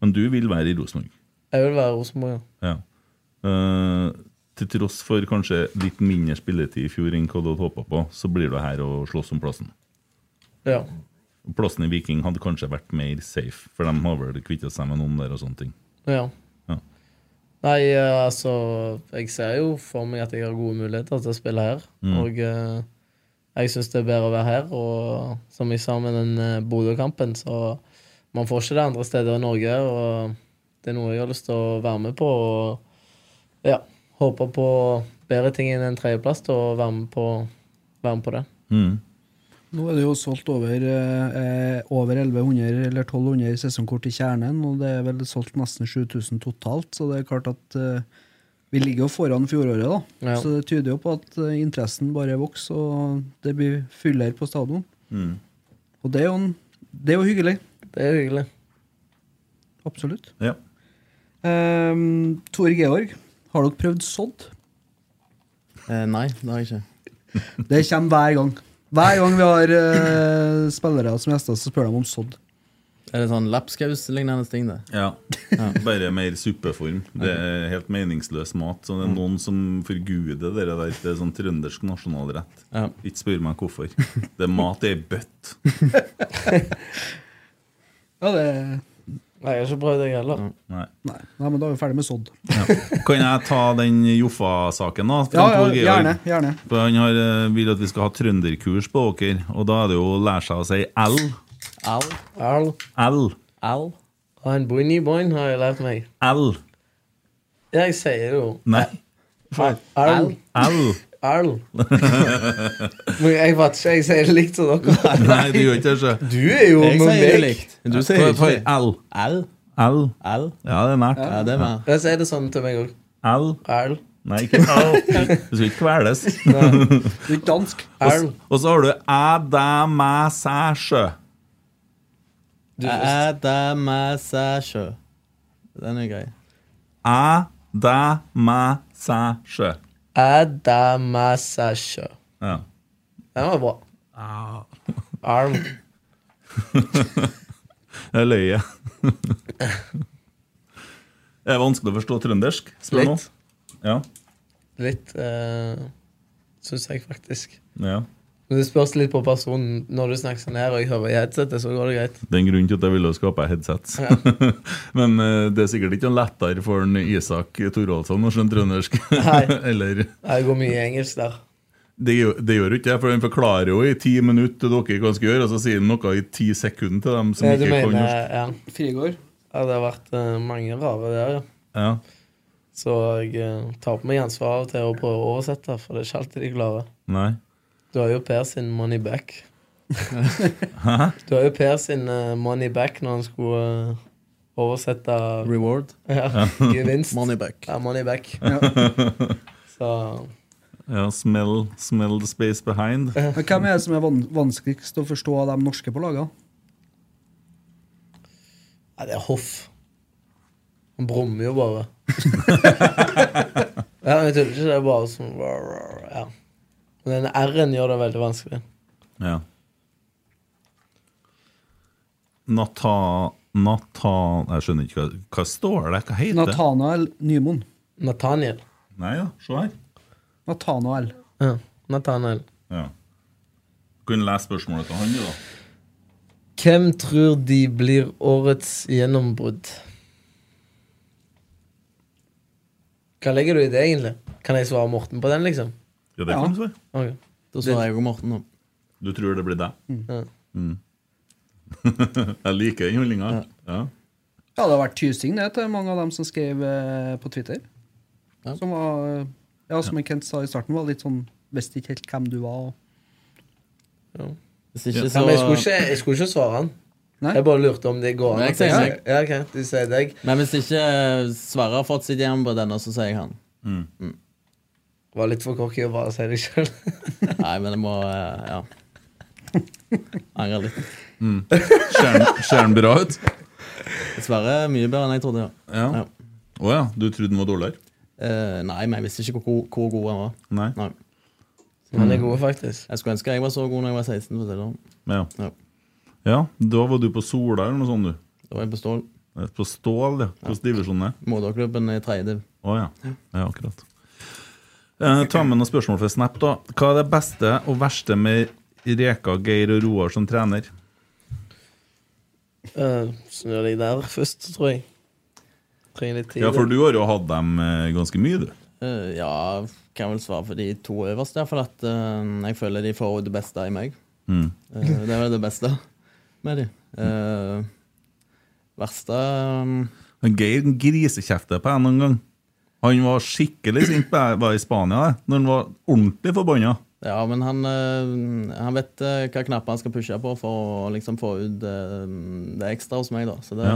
Men du vil være i Rosenborg. Jeg vil være Rosenborg, ja. Ja. Eh, til tross for kanskje litt mindre spilletid i fjor enn hva du hadde håpa på, så blir du her og slåss om plassen. ja. Og Plassen i Viking hadde kanskje vært mer safe, for de har vel kvitta seg med noen der og sånne ting. Ja. Ja. Nei, eh, altså Jeg ser jo for meg at jeg har gode muligheter til å spille her. Og eh, jeg syns det er bedre å være her. Og som jeg sa med den eh, Bodø-kampen, så man får ikke det andre steder i Norge. Og det er noe jeg har lyst til å være med på. Og ja, håper på bedre ting enn en tredjeplass til å være med på, være med på det. Mm. Nå er det jo solgt over, eh, over 1100 eller 1200 sesongkort i kjernen, og det er vel solgt nesten 7000 totalt, så det er klart at eh, vi ligger jo foran fjoråret, da. Ja. Så det tyder jo på at eh, interessen bare vokser, og det blir fullere på stadion. Mm. Og det er, jo en, det er jo hyggelig. Det er hyggelig. Absolutt. Ja. Um, Tor Georg, har dere prøvd sådd? Eh, nei, det har jeg ikke. Det kommer hver gang. Hver gang vi har eh, spillere som gjester, så spør de om sådd. Er det sånn lapskaus-lignende ting, det? Ja. <laughs> Bare mer suppeform. Det er helt meningsløs mat. Så det er noen som forguder det der. Det er sånn trøndersk nasjonalrett. Ja. Ikke spør meg <laughs> hvorfor. Det er mat i ei bøtt. Ja, det Nei, jeg har ikke prøvd det, jeg heller. Nei. Nei, nei, men da er vi ferdig med sodd. Kan jeg ta den Joffa-saken, da? Ja, ja, Tor Georg? gjerne, gjerne. For han har, eh, vil at vi skal ha trønderkurs på dere, og da er det jo å lære seg å si L. Al. Al. L. Al. Og en bunny boin har jeg lært meg. L. Ja, jeg sier det jo. Nei. Al. L. Al. Men jeg vet ikke, jeg sier det likt som dere. Nei, du gjør ikke det. så. Du er jo Jeg med sier det meg. likt. Du sier Ta- ta i ikke L. Al. L. Al. Ja, det er nært. Ja, det var Jeg sier det sånn til meg òg. L. Al. Nei, ikke L. Du skal ikke kveles. Du er ikke dansk. Al. Og så har du æ, dæ, mæ, sæ, sjø. Du først. Adamassasjø. Den er grei. Æ, dæ, mæ, sæ, sjø. Adamasasha. Ja. Den var bra. Ah. Arm. Jeg løy. Det <laughs> er vanskelig å forstå trøndersk, spør noen. Litt. Ja. Litt uh, Syns jeg faktisk. ja. Men Det spørs litt på personen. Når du snakker sånn her, og jeg hører i headsetet, så går det greit. Det er en grunn til at jeg ville skape headsets. <laughs> Men eh, det er sikkert ikke noe lettere for en Isak Thoraldsson å skjønne trøndersk. Nei. <laughs> Eller Jeg går mye engelsk der. Det, gjør- det gjør jo ikke det, for han forklarer jo i ti minutter til dere hva han skal gjøre, og så sier han noe i ti sekunder til dem som Ja, du ikke kan mener norsk. ja. Frigård. ja, det har vært eh, mange rare der, ja. Ja. Så jeg eh, tar på meg ansvaret av og til å prøve å oversette, for det er ikke alltid de klarer. Nei. Du har jo Per sin money back. <laughs> du har jo Per sin eh, money back når han skulle eh, oversette Reward. ja, gevinst. <laughs> Money back. Ja, <laughs> money back. Så Ja, smell, smell the space behind. Men hvem er det som er van vanskeligst å forstå av de norske på laget? Nei, det er hoff. Han brummer jo bare. ja, men jeg tuller ikke. Det er bare sånn Ja. Men den R-en gjør det veldig vanskelig. Ja. Nata... Nata... Jeg skjønner ikke hva, hva står det? Hva heter det? Nathanael Nymoen. Nathaniel. Nei da, se her. Nathanael. Ja. Nathaniel. Ja. Kunne lese spørsmålet til han, du, da. Hvem tror de blir årets gjennombrudd? Hva legger du i det, egentlig? Kan jeg svare Morten på den, liksom? Ja, det Ja. kan du svare. Ok. Da svarer jeg og Morten nå. Du tror det blir deg? Ja. Mm. Mm. jeg liker den holdninga. Ja. Ja, det har vært tysing det til mange av dem som skrev eh, på Twitter. Ja. Som var, eh, ja, som Kent sa i starten, var litt sånn Visste ikke helt hvem du var. og- Hvis ikke, Ja, så men jeg skulle, ikke, jeg skulle ikke svare han. Nei. Jeg bare lurte om det går an. Nei, jeg at jeg sier sier- Ja, ok, du sier deg. Men hvis ikke Sverre har fått sitt hjem på denne, så sier jeg han. Mm. Var litt for cocky å bare si det sjøl. <laughs> Nei, men jeg må eh, Ja. Angrer litt. Ser den- Ser den bra ut? Sverre er mye bedre enn jeg trodde. ja. Ja. Å ja. Ja. du trodde den var dårligere? Eh, nei, men jeg visste ikke hvor, god- hvor god han var. Nei. Nei. Mm. Han er god, faktisk. Jeg skulle ønske jeg var så god når jeg var 16. For å si det sånn. Ja. Ja. ja, da var du på Sola eller noe sånt, du. Eh, Da var jeg på Stål. På Stål, ja. Hvilken divisjon er det? Moderklubben i tredje div. Å ja. ja, akkurat. Eh, ta med noen spørsmål fra Snap. da Hva er det beste og verste med Reka, Geir og Roar som trener? Uh, Snur deg der <laughs> først, tror jeg. Trenger litt tid. Ja, for du har jo hatt dem eh, ganske mye, du. Eh, ja, kan vel svare for de to øverste. For at eh, jeg føler de får det beste i meg. Mm. Eh, det er vel det beste med de. Eh, verste um, Men Geir grisekjeftet på en noen gang. Han var skikkelig sint på jeg var i Spania, det, når han var ordentlig forbanna. Ja, men han, eh, han vet eh, hva knapper han skal pushe på for å liksom få ut eh, det ekstra hos meg, da. Så det,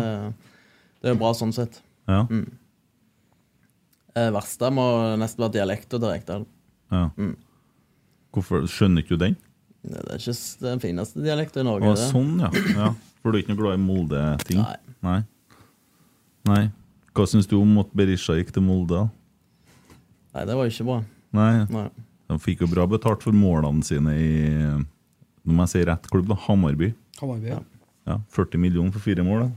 det er jo bra sånn sett. Ja, Eh, verste må nesten være dialekta til Rekdal. ja. Hvorfor skjønner ikke du den? Det er ikke s- den fineste dialekta i Norge. Å, det. sånn, ja. ja. For du er ikke noe glad i Molde-ting? Nei. Nei. Nei. Hva syns du om at Berisha gikk til Molde? da? Nei, det var jo ikke bra. Nei, Nei. De fikk jo bra betalt for målene sine i Nå må jeg si rett klubb, da. Hammarby. Hamarby, ja. Ja, 40 millioner for fire mål, da.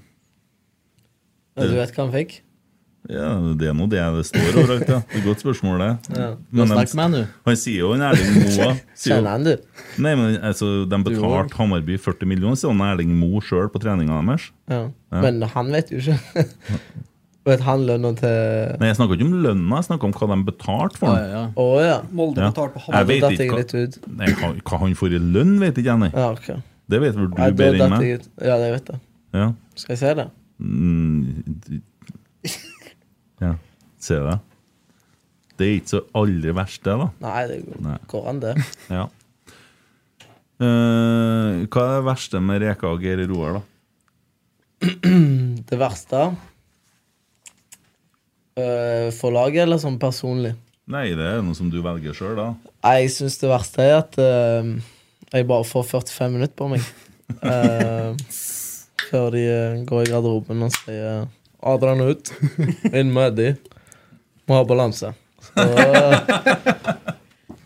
Ja, Du vet hva han fikk? Ja, Det er nå det det står overalt. Ja. Det er et godt spørsmål, det. Ja. Men Du har snakket de- med han, du. Han sier jo en Erling Moa. sier jo- Kjenner han, du? Nei, men altså, De Du betalte Hammarby 40 millioner, sier han Erling Moe sjøl på treninga deres. Ja. Ja. Men han vet jo ikke. <laughs> vet han lønna til Nei, Jeg snakker ikke om lønna, jeg snakker om hva de betalte for den. Å ja. Molde Ja. betalte på Jeg Hamar. vet datt ikke jeg hva- litt ut. Nei, hva, hva han får i lønn, vet ikke jeg, nei. Ja, ok. Det vet vel Nei, du da bedre enn datt jeg meg. ut. Ja, det vet jeg. Ja. Skal jeg se det? Mm, ja. Se det. Det er ikke så aller verst, det, da. Nei, det går, Nei. går an, det. Ja. Eh, hva er det verste med Reka og Geir Roar, da? Det verste øh, For laget, eller sånn personlig? Nei, det er noe som du velger sjøl, da. Nei, Jeg syns det verste er at øh, jeg bare får 45 minutter på meg. Øh, før de øh, går i garderoben og sier 'Adrian er ut'. Inn med Eddie. Må ha balanse. Så eh,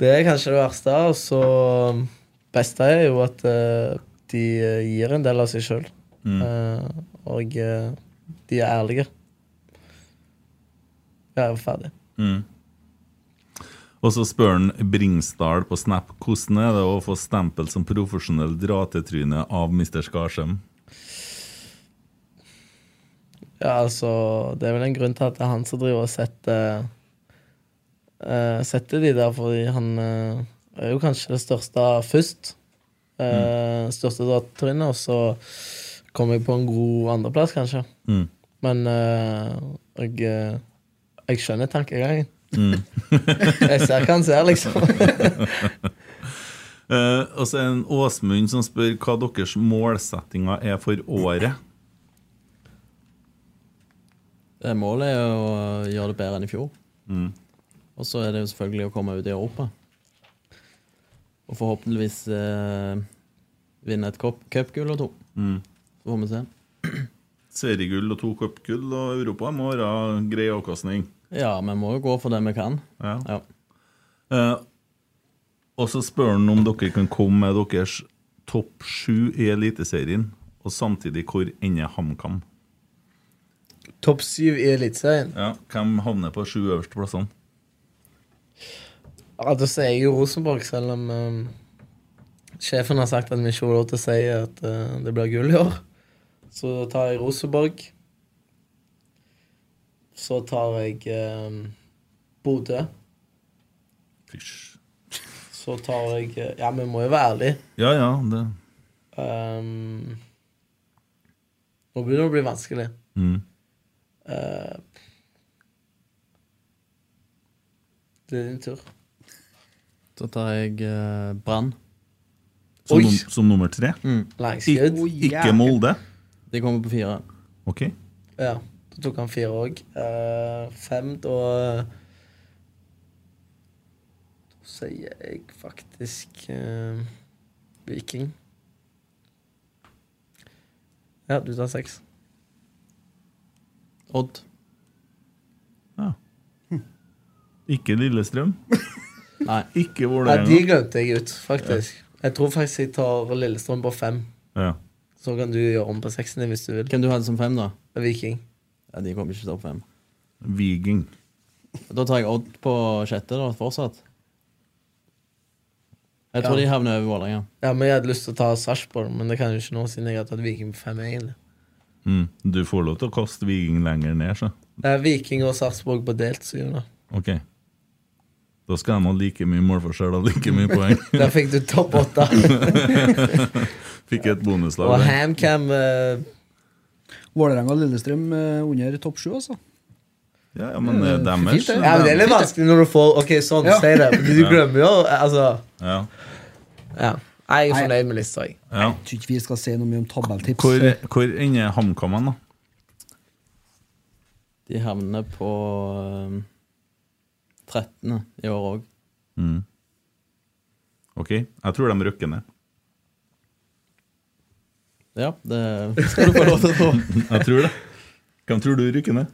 det er kanskje det verste. Og så eh, beste er jo at øh, de gir en del av seg sjøl. Mm. og øh, de er ærlige. Ja, jeg er ferdig. Mm. Og så spør han Bringsdal på Snap hvordan er det å få stempel som profesjonell dra-til-tryne av Mr. Skarsheim. Ja, altså, det er vel en grunn til at det er han som driver og setter eh, Setter de der, fordi han eh, er jo kanskje det største først. Eh, Mm. Største datatrynet, og så kom jeg på en god andreplass, kanskje. Mm. Men eh, jeg, eh, jeg skjønner tankegangen. Mm. <laughs> jeg ser hva han ser, liksom. Eh, og så er det en Åsmund som spør hva deres målsettinger er for året. Eh, Målet er å gjøre det bedre enn i fjor. Mm. Og så er det jo selvfølgelig å komme ut i Europa. Og forhåpentligvis eh, vinne et cup- cupgull og to. Mm. Så får vi se. Seriegull og to cupgull og Europa må være grei avkastning. Ja, vi må jo gå for det vi kan. Ja. Eh, og så spør han om dere kan komme med deres topp sju i Eliteserien, og samtidig hvor ender HamKam? Topp syv i Eliteserien. Ja, hvem havner på sju øverste plassene? Ja, da sier jeg jo Rosenborg, selv om eh, sjefen har sagt at vi ikke får lov til å si at eh, det blir gull i år. Så da tar jeg Rosenborg. Så tar jeg eh, Bodø. Så tar jeg eh, Ja, vi må jo være ærlige. Ja, ja, det Ehm, nå begynner det å bli vanskelig. Mm. Eh, det er din tur. Så tar jeg eh, Brann. mm. Som, num som nummer tre? Langskudd. Ik ikke Molde? De kommer på fire. Ok. Ja, da tok han fire òg. fem, da Da sier jeg faktisk eh, Viking. Ja, du tar seks. Odd. Ikke Lillestrøm? Nei. Nei, Ikke de Vålerenga? glemte jeg ut, faktisk. Jeg tror faktisk jeg tar Lillestrøm på fem. Ja. Så kan du gjøre om på seksen din hvis du vil. Hvem du hadde som fem, da? Viking. Ja, De kommer ikke til topp fem. Viking. Da tar jeg Odd på sjette, da, fortsatt. Jeg tror Ja. de havner over Vålerenga. Ja, men Jeg hadde lyst til å ta Sarpsborg, men det kan jeg jo ikke nå siden jeg har tatt Viking på fem. egentlig Mm. Du får lov til å kaste Viking lenger ned, så. Det er Viking og Sarpsborg på delt syvende. Ok. Da skal de ha like mye målforskjell og like mye poeng. <laughs> Der fikk du topp åtte. Fikk et bonuslag. Og der. HamKam eh, Vålerenga og Lillestrøm eh, under topp sju, altså. Ja, ja, men eh, dem er Mm, Fint, det. sju. Ja, men Det er litt vanskelig når du får Ok, sånn, Ja. si det. Men du Ja. glemmer jo Altså Ja. ja. Nei, Jeg er fornøyd med lista, jeg. Ja. Jeg tror ikke vi skal si noe mye om tabelltips. Hvor, hvor ender HamKam, da? De havner på eh, 13. i år òg. Mm. Ok, jeg tror de røkker ned. <laughs> Ja, det skal du få lov til å tro. Jeg tror det. Hvem tror du rykker ned?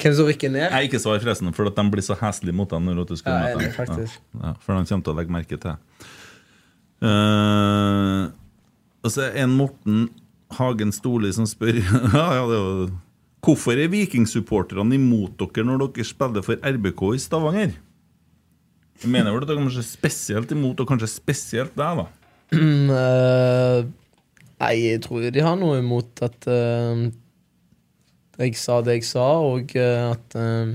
Hvem som rykker ned? Nei, ikke svar forresten, for at de blir så heslige mot deg når at du skal Ja, jeg møte er det, dem. faktisk. Ja, for de kommer til å legge merke til det. Eh, og så er en Morten Hagen Storli som spør <laughs> ja, ja, det er jo, Hvorfor er vikingsupporterne imot dere når dere spiller for RBK i Stavanger? Jeg mener vel at dere er kanskje spesielt imot, og kanskje spesielt deg, da. <clears throat> Eh, Nei, jeg tror jo de har noe imot at eh, jeg sa det jeg sa, og eh, at eh,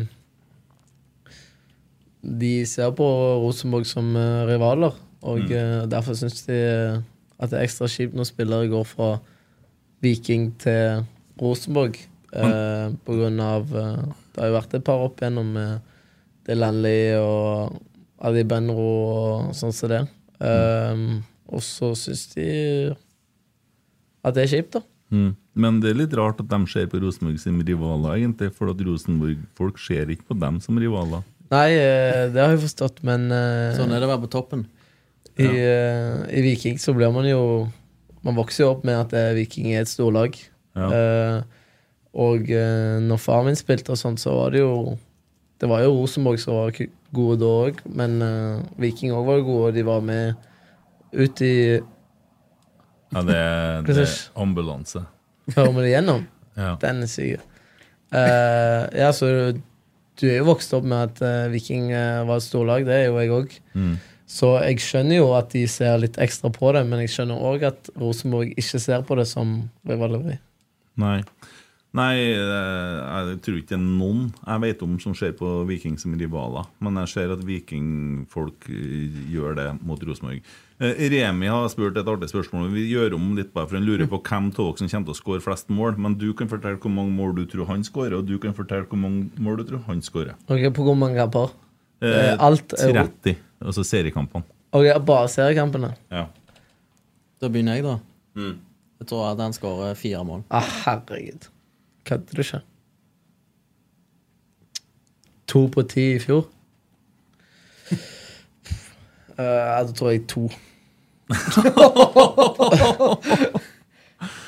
de ser på Rosenborg som eh, rivaler. Og eh, derfor syns de eh, at det er ekstra kjipt når spillere går fra Viking til Rosenborg. eh, på grunn av eh, Det har jo vært et par opp igjennom med Delanley og Adi Benro og sånn som det. Eh, og så syns de at det er kjipt, da. Mm. Men det er litt rart at de ser på Rosenborg som rivaler, egentlig. For at Rosenborg-folk ser ikke på dem som rivaler. Nei, eh, det har jeg forstått, men eh, Sånn er det å være på toppen. I, eh, I Viking så blir man jo Man vokser jo opp med at eh, Viking er et storlag. Ja. Eh, og eh, når faren min spilte og sånn, så var det jo Det var jo Rosenborg som var ku- gode da òg, men eh, Viking òg var jo gode, og de var med ut i Ja, det er, det er Precis. ambulanse. Hører vi det gjennom? Ja. Den er syk. Eh, ja, så du er jo vokst opp med at eh, Viking eh, var et storlag, det er jo jeg òg. Mm. Så jeg skjønner jo at de ser litt ekstra på det, men jeg skjønner òg at Rosenborg ikke ser på det som rivaleri. Nei. Nei, eh, jeg tror ikke det er noen jeg vet om som ser på Viking som rivaler. Men jeg ser at vikingfolk eh, gjør det mot Rosenborg. Eh, Remi har spurt et artig spørsmål. Vi gjør om litt bare for han lurer på hvem av dere som kommer til å skåre flest mål. Men du kan fortelle hvor mange mål du tror han skårer, og du kan fortelle hvor mange mål du tror han skårer. Ok, På hvor mange kamper? Eh, Eh, alt er jo 30, altså seriekampene. Ok, Bare seriekampene? Ja. Da begynner jeg, da. Mm. Jeg tror at han skårer fire mål. Ah, herregud. Kødder du ikke? To på ti i fjor? Eh, ja, da tror jeg to.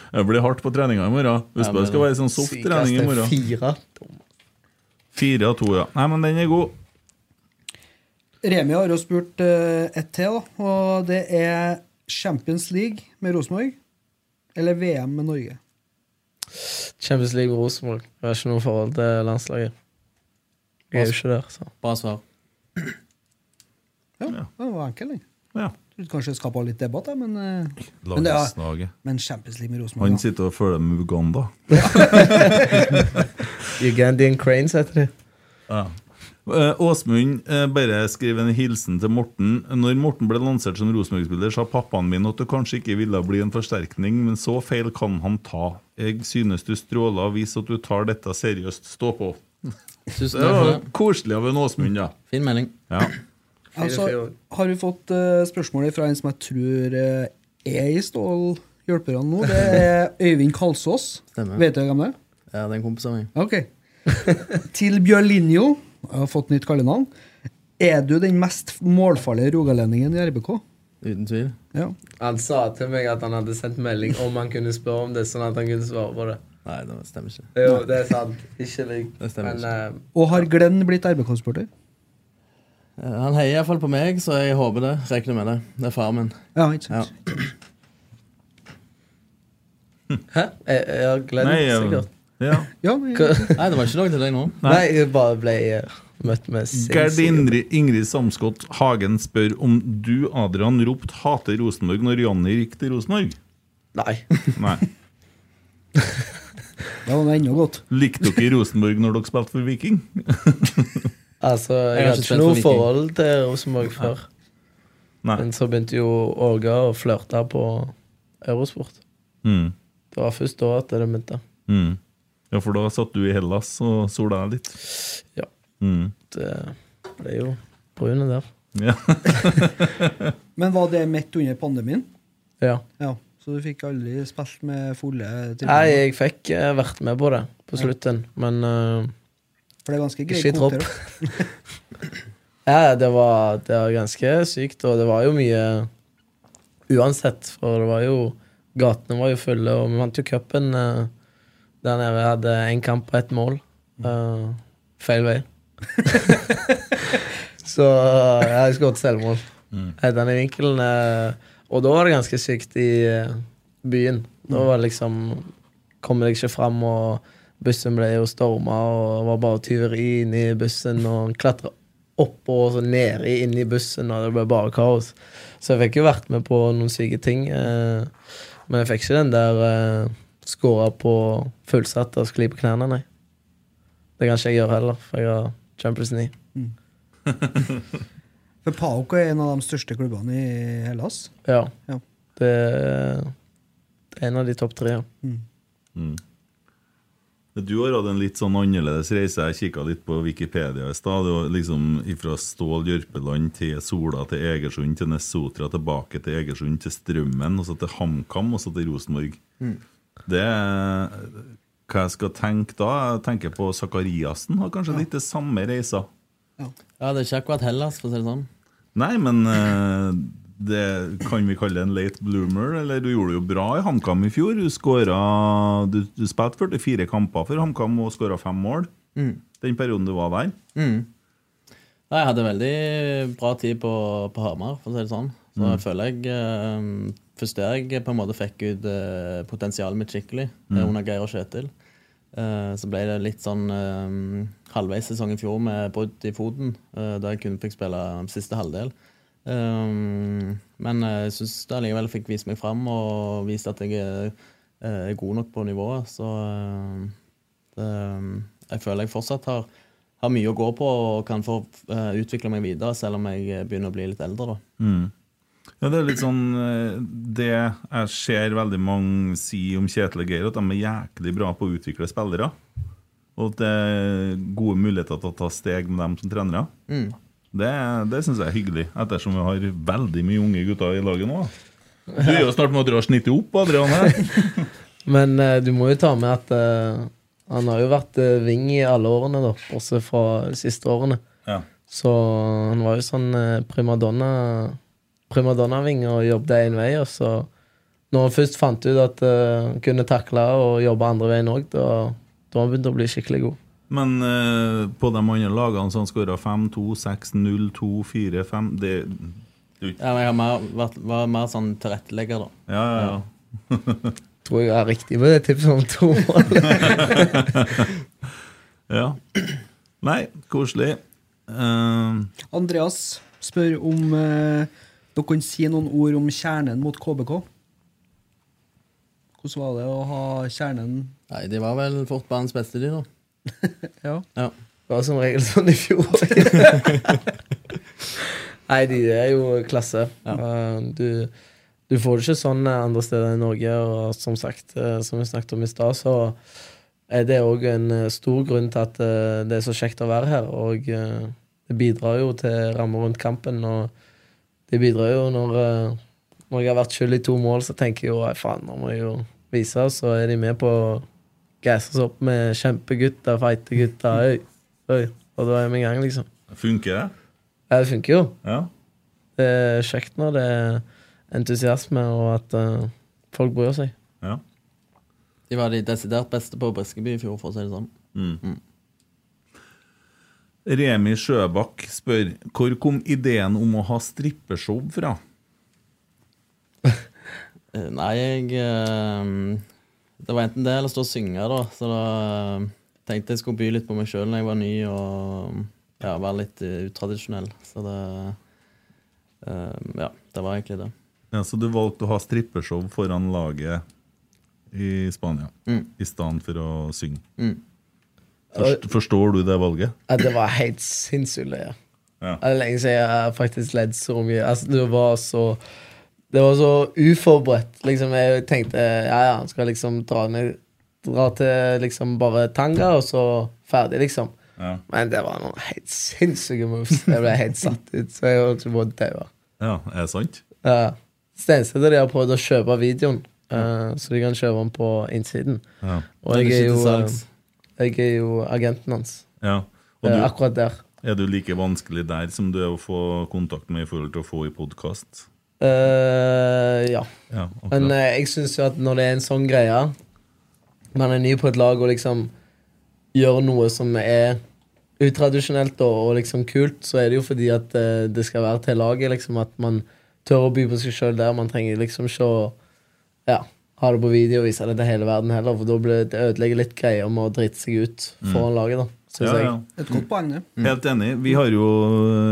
Det blir hardt på treninga i morgen. Husk på det skal være sånn soft trening i morgen. Fire. Fire av to, ja. Nei, men den er god. Remi har jo spurt eh, ett til, da, og det er Champions League med Rosenborg eller VM med Norge. Champions League og Rosenborg. Jeg har ikke noe forhold til landslaget. Jeg er jo ikke der, så. Bra svar. Ja, Den var enkel, den. Ja. Trodde kanskje det skapa litt debatt, jeg, men, eh, men, det er, Landslaget. men Champions League med Rosenborg Han da. sitter og følger med Uganda. Ugandian Cranes heter de. Ja. Eh, Åsmund eh, bare skriver en hilsen til Morten. Når Morten ble lansert som Rosenborg-spiller, sa pappaen min at du kanskje ikke ville bli en forsterkning, men så feil kan han ta. Jeg synes du stråler og viser at du tar dette seriøst. Stå på. Tusen takk det for var det. koselig av en Åsmund, ja. Fin melding. ja. Altså, har du fått eh, spørsmålet fra en som jeg tror eh, er i Stål hjelperne nå? Det er Øyvind Kalsås. Stemmer. Vet du hvem det er? Ja, det er en kompis av meg. Ok. <laughs> Til Bjørlinjo, jeg har fått nytt kallenavn. Er du den mest målfarlige rogalendingen i RBK? Uten tvil. Ja. Han sa til meg at han hadde sendt melding om han kunne spørre om det, sånn at han kunne svare på det. Nei, det stemmer ikke. Jo, det er sant. Ikke lyv. Det stemmer Men eh, Og har Glenn blitt RBK-sporter? Eh, Han heier iallfall på meg, så jeg håper det. Regner med det. Det er faren min. Ja, ikke Ja. sant? Hæ? Jeg, jeg har glemt Nei, ja. sikkert. ja. Ja, men- Hva- Nei, det var ikke noe til deg nå. Nei, jeg bare ble eh, møtt med Gerd sinnssykt Indri, Ingrid Samskott Hagen spør om du, Adrian, ropte 'hater Rosenborg' når Janni gikk til Rosenborg. Nei. Nei. Det var noe ennå godt. Likte dere Rosenborg når dere spilte for Viking? Altså, Jeg jeg, har ikke hadde ikke spilt for noe Viking. forhold til Rosenborg før. Nei. Men så begynte jo Åge å flørte på Eurosport. Mm. Det var først da at det begynte. Mm. Ja, for da satt du i Hellas og sola deg litt. Ja. Mm. eh, Det ble jo brune der. Ja. Men var det midt under pandemien? Ja. Ja. Så du fikk aldri spilt med fulle Nei, tilbud? jeg fikk eh, vært med på det på slutten, men eh, For det er ganske Ikke i greie tropp. kvoter. da. Ja, det var, det var ganske sykt, og det var jo mye uansett. For det var jo Gatene var jo fulle, og vi vant jo cupen eh, der nede. Vi hadde én kamp og ett mål. Eh, feil vei. Så ja, jeg skåret selvmål. Mm. Den i vinkelen. eh, og da var det ganske sykt i eh, byen. Da var det liksom Kom jeg ikke fram, og bussen ble jo storma, og det var bare tyveri inni bussen, og klatra oppå og så nede inni bussen, og det ble bare kaos. Så jeg fikk jo vært med på noen syke ting, eh, men jeg fikk ikke den der eh, skåra på fullsatt og skli på knærne, nei. Det kan ikke jeg gjøre heller, for jeg har Champions League. For Paok er en av de største klubbene i Hellas. Ja. Ja. Det eh, er en av de topp tre. Ja. Mm. Du har hatt en litt sånn annerledes reise. Jeg kikka litt på Wikipedia i stad. Det var Liksom fra Stål Jørpeland til Sola til Egersund til Nessotra, tilbake til Egersund, til Strømmen, og så til HamKam, og så til Rosenborg. Mm. Det er Hva jeg skal tenke da? Jeg tenker på Sakariassen. Har kanskje litt det samme reisa. Ja, det er ikke akkurat Hellas, for å si det sånn. Nei, men eh, det kan vi kalle en late bloomer. Eller du gjorde det jo bra i HamKam i fjor. Du, skåra- du, du spilte 44 kamper for HamKam og skåra fem mål Mm. den perioden du var der. Mm. Nei, jeg hadde veldig bra tid på, på Hamar, for å si det sånn. Så jeg Mm. føler jeg eh, Først der jeg på en måte fikk ut eh, potensialet mitt skikkelig, eh, Mm. under Geir og Kjetil. Eh, så ble det litt sånn eh, halvveis sesong i fjor med brudd i foten, eh, da jeg kun fikk spille siste halvdel. Eh, men eh, jeg syns jeg likevel fikk vist meg fram og vist at jeg er, eh, er god nok på nivået, så eh, det, Ehm, jeg føler jeg fortsatt har har mye å gå på og kan få eh, utvikle meg videre, selv om jeg eh, begynner å bli litt eldre. da. Mm. Ja, det er litt sånn eh, Det jeg ser veldig mange si om Kjetil og Geir, at de er jæklig bra på å utvikle spillere. Og at det er gode muligheter til å ta steg med dem som trenere. Mm. Det, det syns jeg er hyggelig, ettersom vi har veldig mye unge gutter i laget nå. Du er jo snart med å dra snittet opp, Adrian. her Men eh, du må jo ta med at eh, han har jo vært eh, wing i alle årene, da, bortsett fra de siste årene. Ja. Så han var jo sånn eh, primadonna primadonna-wing og jobbet én vei. Og så når han først fant ut at eh, han kunne takle og jobbe andre veien òg, da, da har han begynt å bli skikkelig god. Men eh, på de andre lagene som skåra 5-2, 6-0, 2-4, 5 Det Ja, men jeg har mer, vært, var mer sånn tilrettelegger, da. Ja, ja, ja. Tror jeg er riktig med det tipset om to mål. Ja. Nei, koselig. Ehm, Andreas spør om eh, dere kan si noen ord om kjernen mot KBK. Hvordan var det å ha kjernen Nei, de var vel fort banens beste, <laughs> de, da. ja. ja. Det var som regel sånn i fjor. <laughs> Nei, de er jo klasse. Eh, Du, du får det ikke sånn eh, andre steder i Norge. Og som sagt, eh, som vi snakket om i stad, så er det òg en eh, stor grunn til at eh, det er så kjekt å være her. Og eh, det bidrar jo til rammer rundt kampen, og det bidrar jo når eh, når jeg har vært skyld i to mål, så tenker jeg jo «Nei, faen, nå må jeg jo vise. Så er de med på å gasse oss opp med kjempegutter, feite gutter. Oi, oi. Og da er vi i gang, liksom. funker det? Ja, det funker jo. Ja. Det er kjekt når det er entusiasme, og at eh, folk bryr seg. De var de desidert beste på Briskeby i fjor, for å si det sånn. Mm. Remi Sjøbakk spør hvor kom ideen om å ha strippeshow fra? Eh, Nei, jeg eh, Det var enten det eller stå og synge, da. Så da eh, tenkte jeg skulle by litt på meg sjøl når jeg var ny, og ja, være litt eh, utradisjonell. Så det eh, Ja, det var egentlig det. Ja, så du valgte å ha strippeshow foran laget i Spania Mm. i stedet for å synge. Mm. Forst, forstår du det valget? Ja, det var helt sinnssykt løye. Ja. Det er lenge siden jeg har faktisk ledd så mye. Altså, det var så Det var så uforberedt. Liksom, jeg tenkte ja, ja, han skal liksom dra ned Dra til liksom bare tanga, og så ferdig, liksom. Ja. Men det var noen helt sinnssyke moves. Jeg ble helt satt ut, så jeg holdt på å daue. Ja, er det sant? Ja. Stensete de har prøvd å kjøpe videoen, eh, så de kan kjøpe den på innsiden. Ja. Og Den er jeg er, ikke jo, til salgs. eh, jeg er jo agenten hans. Ja. Eh, akkurat der. Er du like vanskelig der som du er å få kontakt med i forhold til å få i podkast? Eh, ja. Ja, akkurat. Men eh, jeg syns jo at når det er en sånn greie Man er ny på et lag og liksom gjør noe som er utradisjonelt og, og liksom kult, så er det jo fordi at eh, det skal være til laget. liksom At man tør å by på seg sjøl der. Man trenger liksom ikke å ja, ha det på video og vise det til hele verden heller, for da blir det ødelegger litt greier med å drite seg ut foran Mm. laget, da. Synes Ja, jeg. ja. Et godt poeng, det. Helt enig. Vi har jo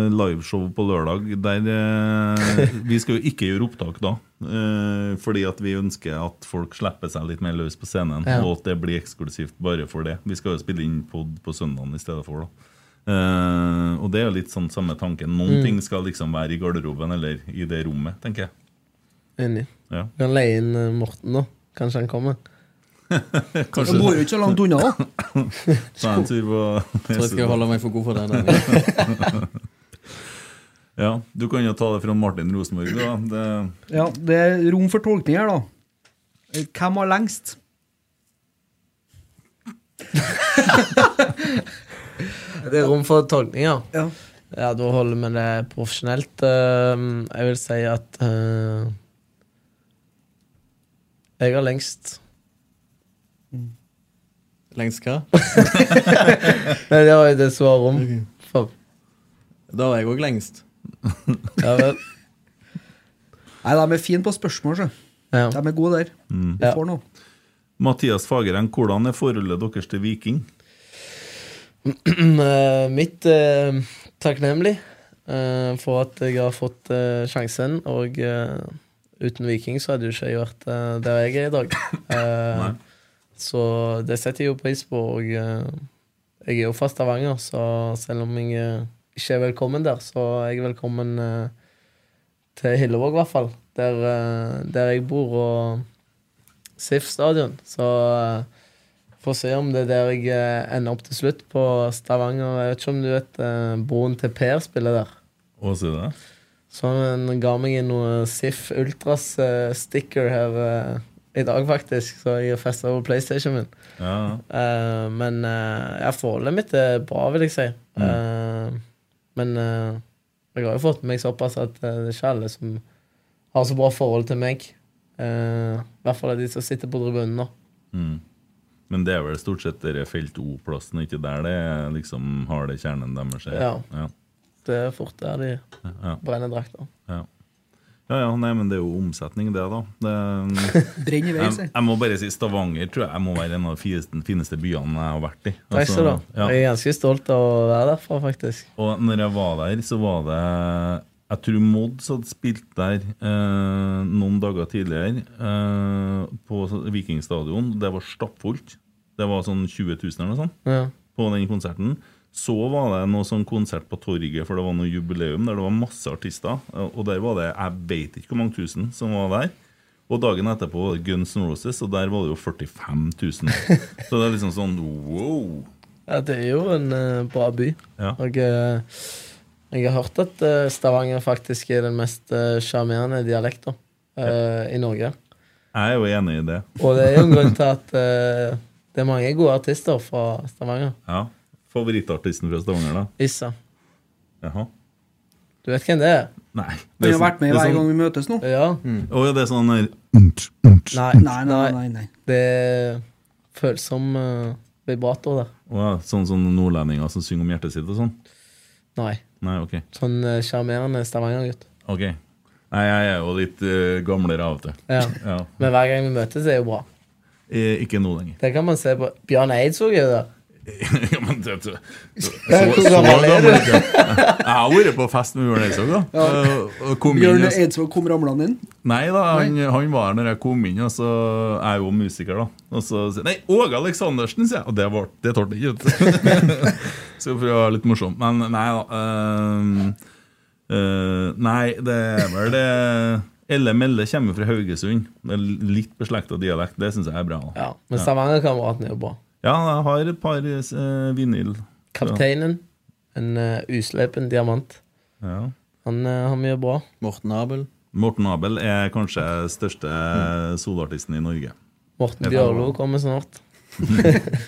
eh, liveshow på lørdag der eh, Vi skal jo ikke gjøre opptak da, eh, fordi at vi ønsker at folk slipper seg litt mer løs på scenen, Ja. og at det blir eksklusivt bare for det. Vi skal jo spille inn pod på søndagen i stedet for, da. Eh, og det er jo litt sånn samme tanken. Noen Mm. ting skal liksom være i garderoben eller i det rommet, tenker jeg. Enig. Ja. Vi kan leie inn eh, Morten nå. Kanskje han kommer. Jeg bor jo ikke så langt unna, da. Ta en tur på Tror jeg skal holde meg for god for det, da. ja, du kan jo ta det fra Martin Rosenborg, da. Det Ja, det er rom for tolkning her, da. Hvem har lengst? <laughs> Det er rom for tolkninger. Ja. ja, da holder vi det profesjonelt. Ehm, Jeg vil si at eh, Jeg har lengst. Mm. Lengst hva? <laughs> Nei, det var jo det som var rom. For. Da var jeg òg lengst. Ja vel. Nei, de er fine på spørsmål, så. De er gode der. Mm. Vi får noe. Mathias Fagereng, hvordan er forholdet deres til Viking? <clears throat> Eh, Mitt eh, takknemlig eh, for at jeg har fått eh, sjansen. Og eh, uten Viking så hadde jo ikke jeg vært eh, der jeg er i dag. Eh, så det setter jeg jo pris på. Og eh, jeg er jo fra Stavanger, så selv om jeg eh, ikke er velkommen der, så er jeg velkommen eh, til Hillevåg, i hvert fall. Der, eh, der jeg bor. og SIF stadion. Så eh, får se om det er der jeg eh, ender opp til slutt på Stavanger. Jeg vet ikke om du vet eh, broren til Per spiller der. Å, si det. Så han ga meg en noe SIF Ultras eh, sticker her eh, i dag, faktisk. Så jeg har festa over PlayStation min. Ja. Eh, men eh, ja, forholdet mitt er bra, vil jeg si. Eh, men eh, jeg har jo fått med meg såpass at eh, det er ikke alle som har så bra forhold til meg. Eh, I hvert fall de som sitter på tribunen nå. Mm. Men det er vel stort sett dere felt O-plassen, ikke der det er liksom har det kjernen deres er. Ja. Ja. Det er fort der de Ja. brenner drakter. Ja. Ja, ja, nei, men det er jo omsetning, det, da. Det, Brenn i vei, jeg, sier. jeg må bare si Stavanger tror jeg, jeg må være en av de fineste, fineste byene jeg har vært i. Altså, Takk skal du ha. ja. Jeg er ganske stolt av å være derfra, faktisk. Og når jeg var der, så var det Jeg tror Mods hadde spilt der eh, noen dager tidligere, eh, på Vikingstadion. Det var stappfullt. Det var sånn 20 000 eller noe sånt Ja. på den konserten. Så var det noe sånn konsert på torget, for det var noe jubileum der det var masse artister. eh, Og der var det jeg vet ikke hvor mange tusen som var der. Og dagen etterpå var det Guns N' Roses, og der var det jo 45 000. Så det er liksom sånn wow. Ja, det er jo en eh, bra by. Ja. Og eh, jeg har hørt at eh, Stavanger faktisk er den mest eh, sjarmerende dialekten eh, i Norge. Jeg er jo enig i det. Og det er jo en grunn til at eh, det er mange gode artister fra Stavanger. Ja. Favorittartisten fra Stavanger, da? Issa. Jaha. Du vet hvem det er? Nei. sånn- Vi har vært med hver gang vi møtes nå. Ja. Å ja, det er sånn der Nei, Nei, nei, nei, nei. Det er følsom eh, vibrator der. Å ja, Sånn som nordlendinger som synger om hjertet sitt og sånn? Nei. Nei, ok. Sånn eh, sjarmerende Stavanger-gutt. Ok. Nei, jeg er jo litt eh, gamlere av og til. Ja. Ja. Men hver gang vi møtes, er jo bra. Eh, ikke nå lenger. Det kan man se på. Bjørn Eidsvåg er jo der. <laughs> ja, men det, det, så, Ja, så, hvor så gammel gammel er er du? ikke jeg. Jeg har vært på fest med Bjørn Eidsvåg, da. Ja. Eh, og kom inn Bjørn og- Eidsvåg kom ramlende inn. Nei da, han, han var her når jeg kom inn, og så jeg er jo musiker, da. Og så sier Nei, Åge Aleksandersen, sier jeg! Og det var- det tålte jeg ikke, vet du. <laughs> så for å være litt morsom. Men nei da. ehm, eh, nei, det er vel det Elle Melle kommer fra Haugesund. Det er litt beslekta dialekt. Det syns jeg er bra. da. Ja, Men Stavanger-kameraten er jo bra. Ja, jeg har et par eh, vinyl. Kapteinen. En eh, uslepen diamant. Ja. Han eh, har mye bra. Morten Abel. Morten Abel er kanskje største soloartisten i Norge. Morten Jeg tror- Bjørlo kommer snart.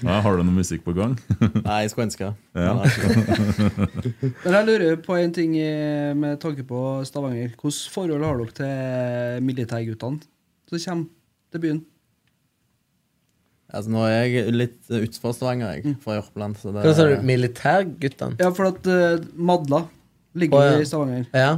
Ja, har du noe musikk på gang? Nei, jeg skulle ønske. Ja. Men jeg Men jeg lurer på en ting eh, med tanke på Stavanger. Hvilket forhold har dere til militærguttene som kommer til byen? Altså, nå er jeg litt eh, utenfor Stavanger, Mm. jeg. Fra Jørpeland. Så det Hva sa du? Militærguttene? Ja, for at eh, Madla ligger Å, ja. i Stavanger. Ja.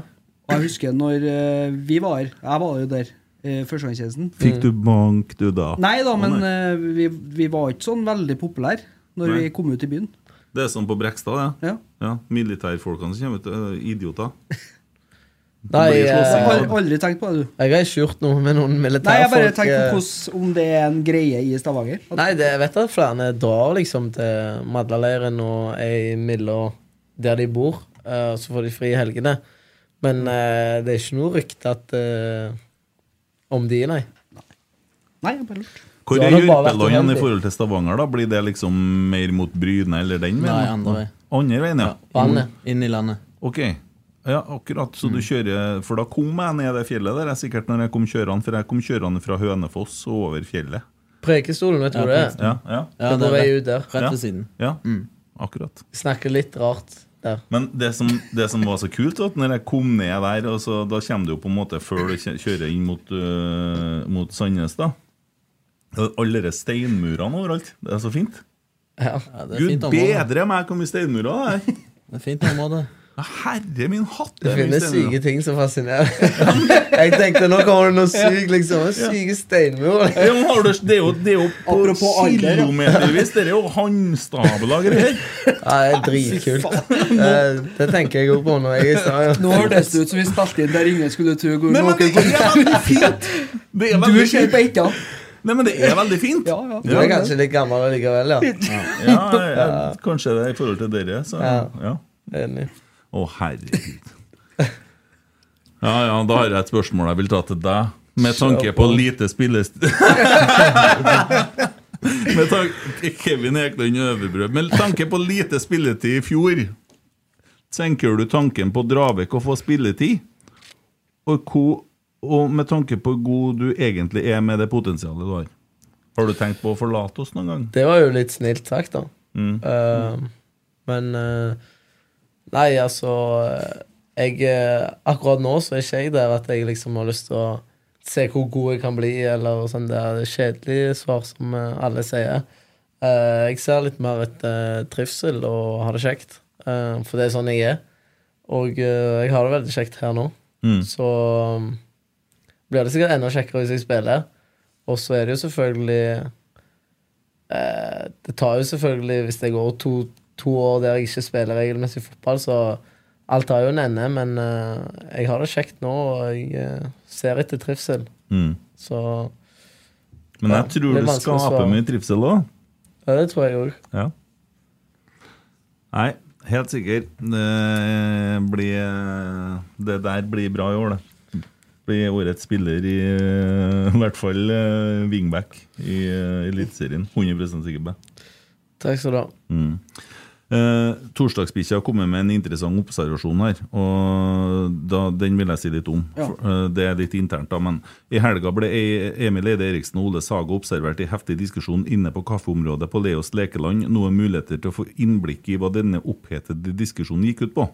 Og jeg husker når eh, vi var her Jeg var jo der eh, førstegangstjenesten. <laughs> Fikk du bank, du, da? Nei da, Å, men eh, vi, vi var ikke sånn veldig populære når Nei. vi kom ut i byen. Det er sånn på Brekstad, det. Ja. Militærfolkene som kommer ut, er idioter. Nei, Det blir slåssing, eh, da. Aldri tenkt på det, du. Jeg har ikke gjort noe med noen militærfolk. Nei, jeg bare tenkte eh, på hvordan- om det er en greie i Stavanger. At- Nei, det, jeg vet at flere drar liksom til Madlaleiren og er i Milla der de bor. eh, og så får de fri i helgene. Men eh, det er ikke noe rykte at, eh, om de, nei. Nei, jeg bare lurte. Hvor Du har er nok bare vært Jørpeland i uheldig. forhold til Stavanger? da? Blir det liksom mer mot Bryne eller den veien? Nei, da? andre vei. Andre veien, ja. Vannet. Inn i landet. Ok. Ja, akkurat. Så du kjører For da kom jeg ned det fjellet der, jeg sikkert når jeg kom kjørende. For jeg kom kjørende fra Hønefoss og over fjellet. Prekestolen, vet du Ja, hvor det er? Ja, ja. Det er på vei ut der. Ja, Ja, akkurat. Snakker litt rart der. Men det som, det som var så kult, var at når jeg kom ned der og så, Da kommer du jo på en måte før du kjø- kjører inn mot, øh, mot Sandnes, da. Og Alle de steinmurene overalt. Det er så fint. Ja. det er Gud fint altså. område. bedre meg hvor mye steinmurer det er! Det er fint område. Herre min hatt! <laughs> Det er mye finnes steinmurer. syke ting som fascinerer. <laughs> jeg tenkte nå kommer det noe sykt, liksom. Ja. Syke steinmur. Ja, men har du, det er jo, det er jo på Apropos alder, ja. kilometervis. Det er jo handstabla greier. Ja, det er dritkult. Eh, Det tenker jeg òg på når jeg er i Stavanger. Nå hørtes det ut som vi spilte inn der ingen skulle tro hvor Nei, men det noen- er veldig fint! Det er Du veldig ser fint. på etter. Nei, men det er veldig fint. Du er kanskje litt gammel likevel, ja. Ja, ja, kanskje det er i forhold til dere. Så, Ja. ja. Enig. Å, herregud. Ja, ja, da har jeg et spørsmål jeg vil ta til deg. Med tanke på lite spillest... <laughs> med tanke, Kevin Eklund Øverbrød. Med tanke på lite spilletid i fjor, senker du tanken på Dravek å få spilletid? Og, hvor, og med tanke på hvor god du egentlig er med det potensialet du har. Har du tenkt på å forlate oss noen gang? Det var jo litt snilt sagt, da. Mm. Eh, men eh, Nei, altså eh, jeg, eh, Akkurat nå så er ikke jeg der at jeg liksom har lyst til å se hvor god jeg kan bli, eller sånn der kjedelig svar som eh, alle sier. Eh, jeg ser litt mer etter trivsel og har det kjekt, eh, for det er sånn jeg er. Og eh, jeg har det veldig kjekt her nå, Mm. så um, blir det sikkert enda kjekkere hvis jeg spiller. Og så er det jo selvfølgelig Eh, det tar jo selvfølgelig, hvis det går to, to år der jeg ikke spiller regelmessig fotball, så alt har jo en ende, men eh, jeg har det kjekt nå, og jeg eh, ser etter trivsel. Mm. Så Men ja, jeg tror det er det vanskelig å skaper svare. mye trivsel òg. Ja, det tror jeg òg. Ja. Nei, helt sikker. Det, blir, det der blir bra i år, det. Blir årets spiller i eh, i hvert fall eh, wingback i eh, Eliteserien. 100 sikker på det. Takk skal du ha. Mm. Eh, Torsdagsbikkja har kommet med en interessant observasjon her, og da, den vil jeg si litt om. Ja. For, eh, det er litt internt, da, men i helga ble E- Emil Eide Eriksen og Ole Saga observert i heftig diskusjon inne på kaffeområdet på Leos lekeland, noe muligheter til å få innblikk i hva denne opphetede diskusjonen gikk ut på.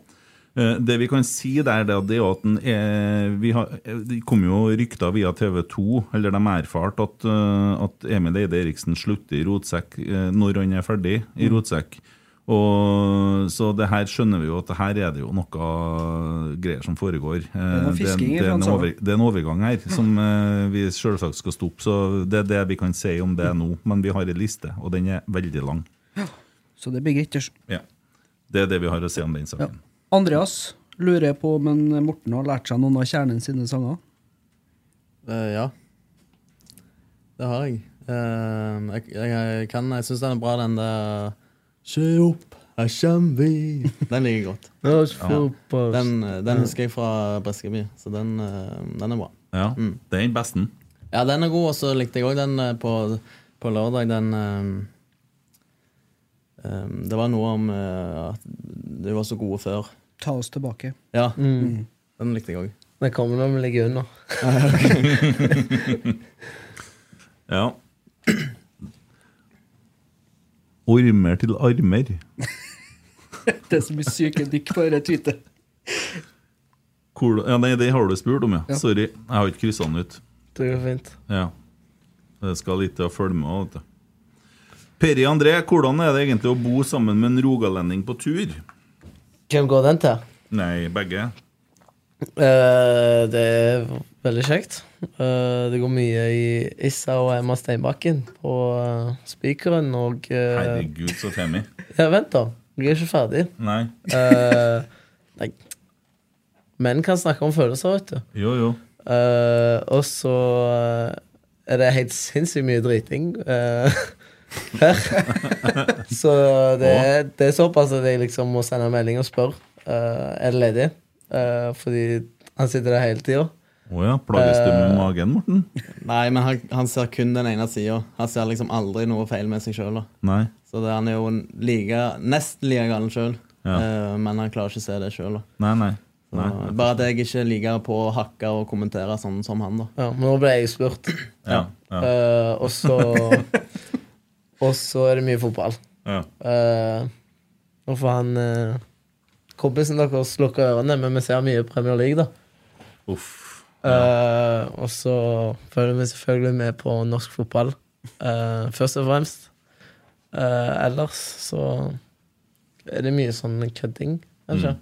Eh, Det vi kan si der, det er at det er at den er, vi har, eh, det kom jo rykter via TV 2, eller de erfarte at, eh, at Emil Eide Eriksen slutter i Rotsekk eh, når han er ferdig i Mm. Rotsekk. Og, så det her skjønner vi jo at det her er det jo noe greier som foregår. Eh, er noe det, er- fisking i det, er en Fransa. over, det er en overgang her som eh, vi selvsagt skal stoppe, så det er det vi kan si om det nå. Men vi har en liste, og den er veldig lang. Så det blir greit. Ja. Det er det vi har å si om den saken. Andreas lurer på om en Morten har lært seg noen av kjernen sine sanger. Eh, ja. Det har jeg. Eh, jeg, jeg, jeg kan Jeg syns den er bra, den der Se opp, her kjem vi Den liker jeg godt. <laughs> Ja, se opp, Ja. Den, Ja. den husker jeg fra Breskeby, så den, eh, den er bra. Ja, Mm. det er den beste. Ja, den er god, og så likte jeg òg den eh, på, på lørdag, den eh, eh, Det var noe om eh, at de var så gode før. Ta oss tilbake. Ja. Mm. Den likte jeg òg. Den kommer når vi ligger under. Ja. Ormer til armer. Det er så mye syke dykk på dette tweetet. Hvor, ja, nei, det har du spurt om, ja. Ja. Sorry, jeg har ikke kryssa den ut. Det går fint. Ja. Det skal litt til å følge med. Vet du. Peri André, hvordan er det egentlig å bo sammen med en rogalending på tur? Hvem går den til? Nei, begge. Eh, det er veldig kjekt. Eh, det går mye i Issa og Emma Steinbakken på eh, Spikeren og eh, Herregud, så femi. Ja, vent, da. Jeg er ikke ferdig. Nei. Eh, <laughs> nei. Menn kan snakke om følelser, vet du. Jo, jo. Eh, og så eh, er det helt sinnssykt mye driting eh, <laughs> her. så det er, det er såpass at jeg liksom må sende en melding og spørre uh, Er det ledig. Eh, fordi han sitter der hele tida. Å ja. Plages du med Eh, magen, Morten? Nei, men han, han ser kun den ene sida. Han ser liksom aldri noe feil med seg sjøl. Nei. Så det, han er jo en like, nesten like gal sjøl, Ja. men han klarer ikke å se det sjøl. Nei, nei. nei. Bare at jeg ikke liker på å hakke og kommentere sånn som han, da. Ja, men nå ble jeg spurt. Ja, ja. Eh, og så <laughs> Og så er det mye fotball. Ja. Eh, og for han eh, Kompisen deres lukker ørene, men vi ser mye Premier League, da. Uff. Eh, og så følger vi selvfølgelig med på norsk fotball, eh, først og fremst. Eh, ellers så er det mye sånn kødding, kanskje.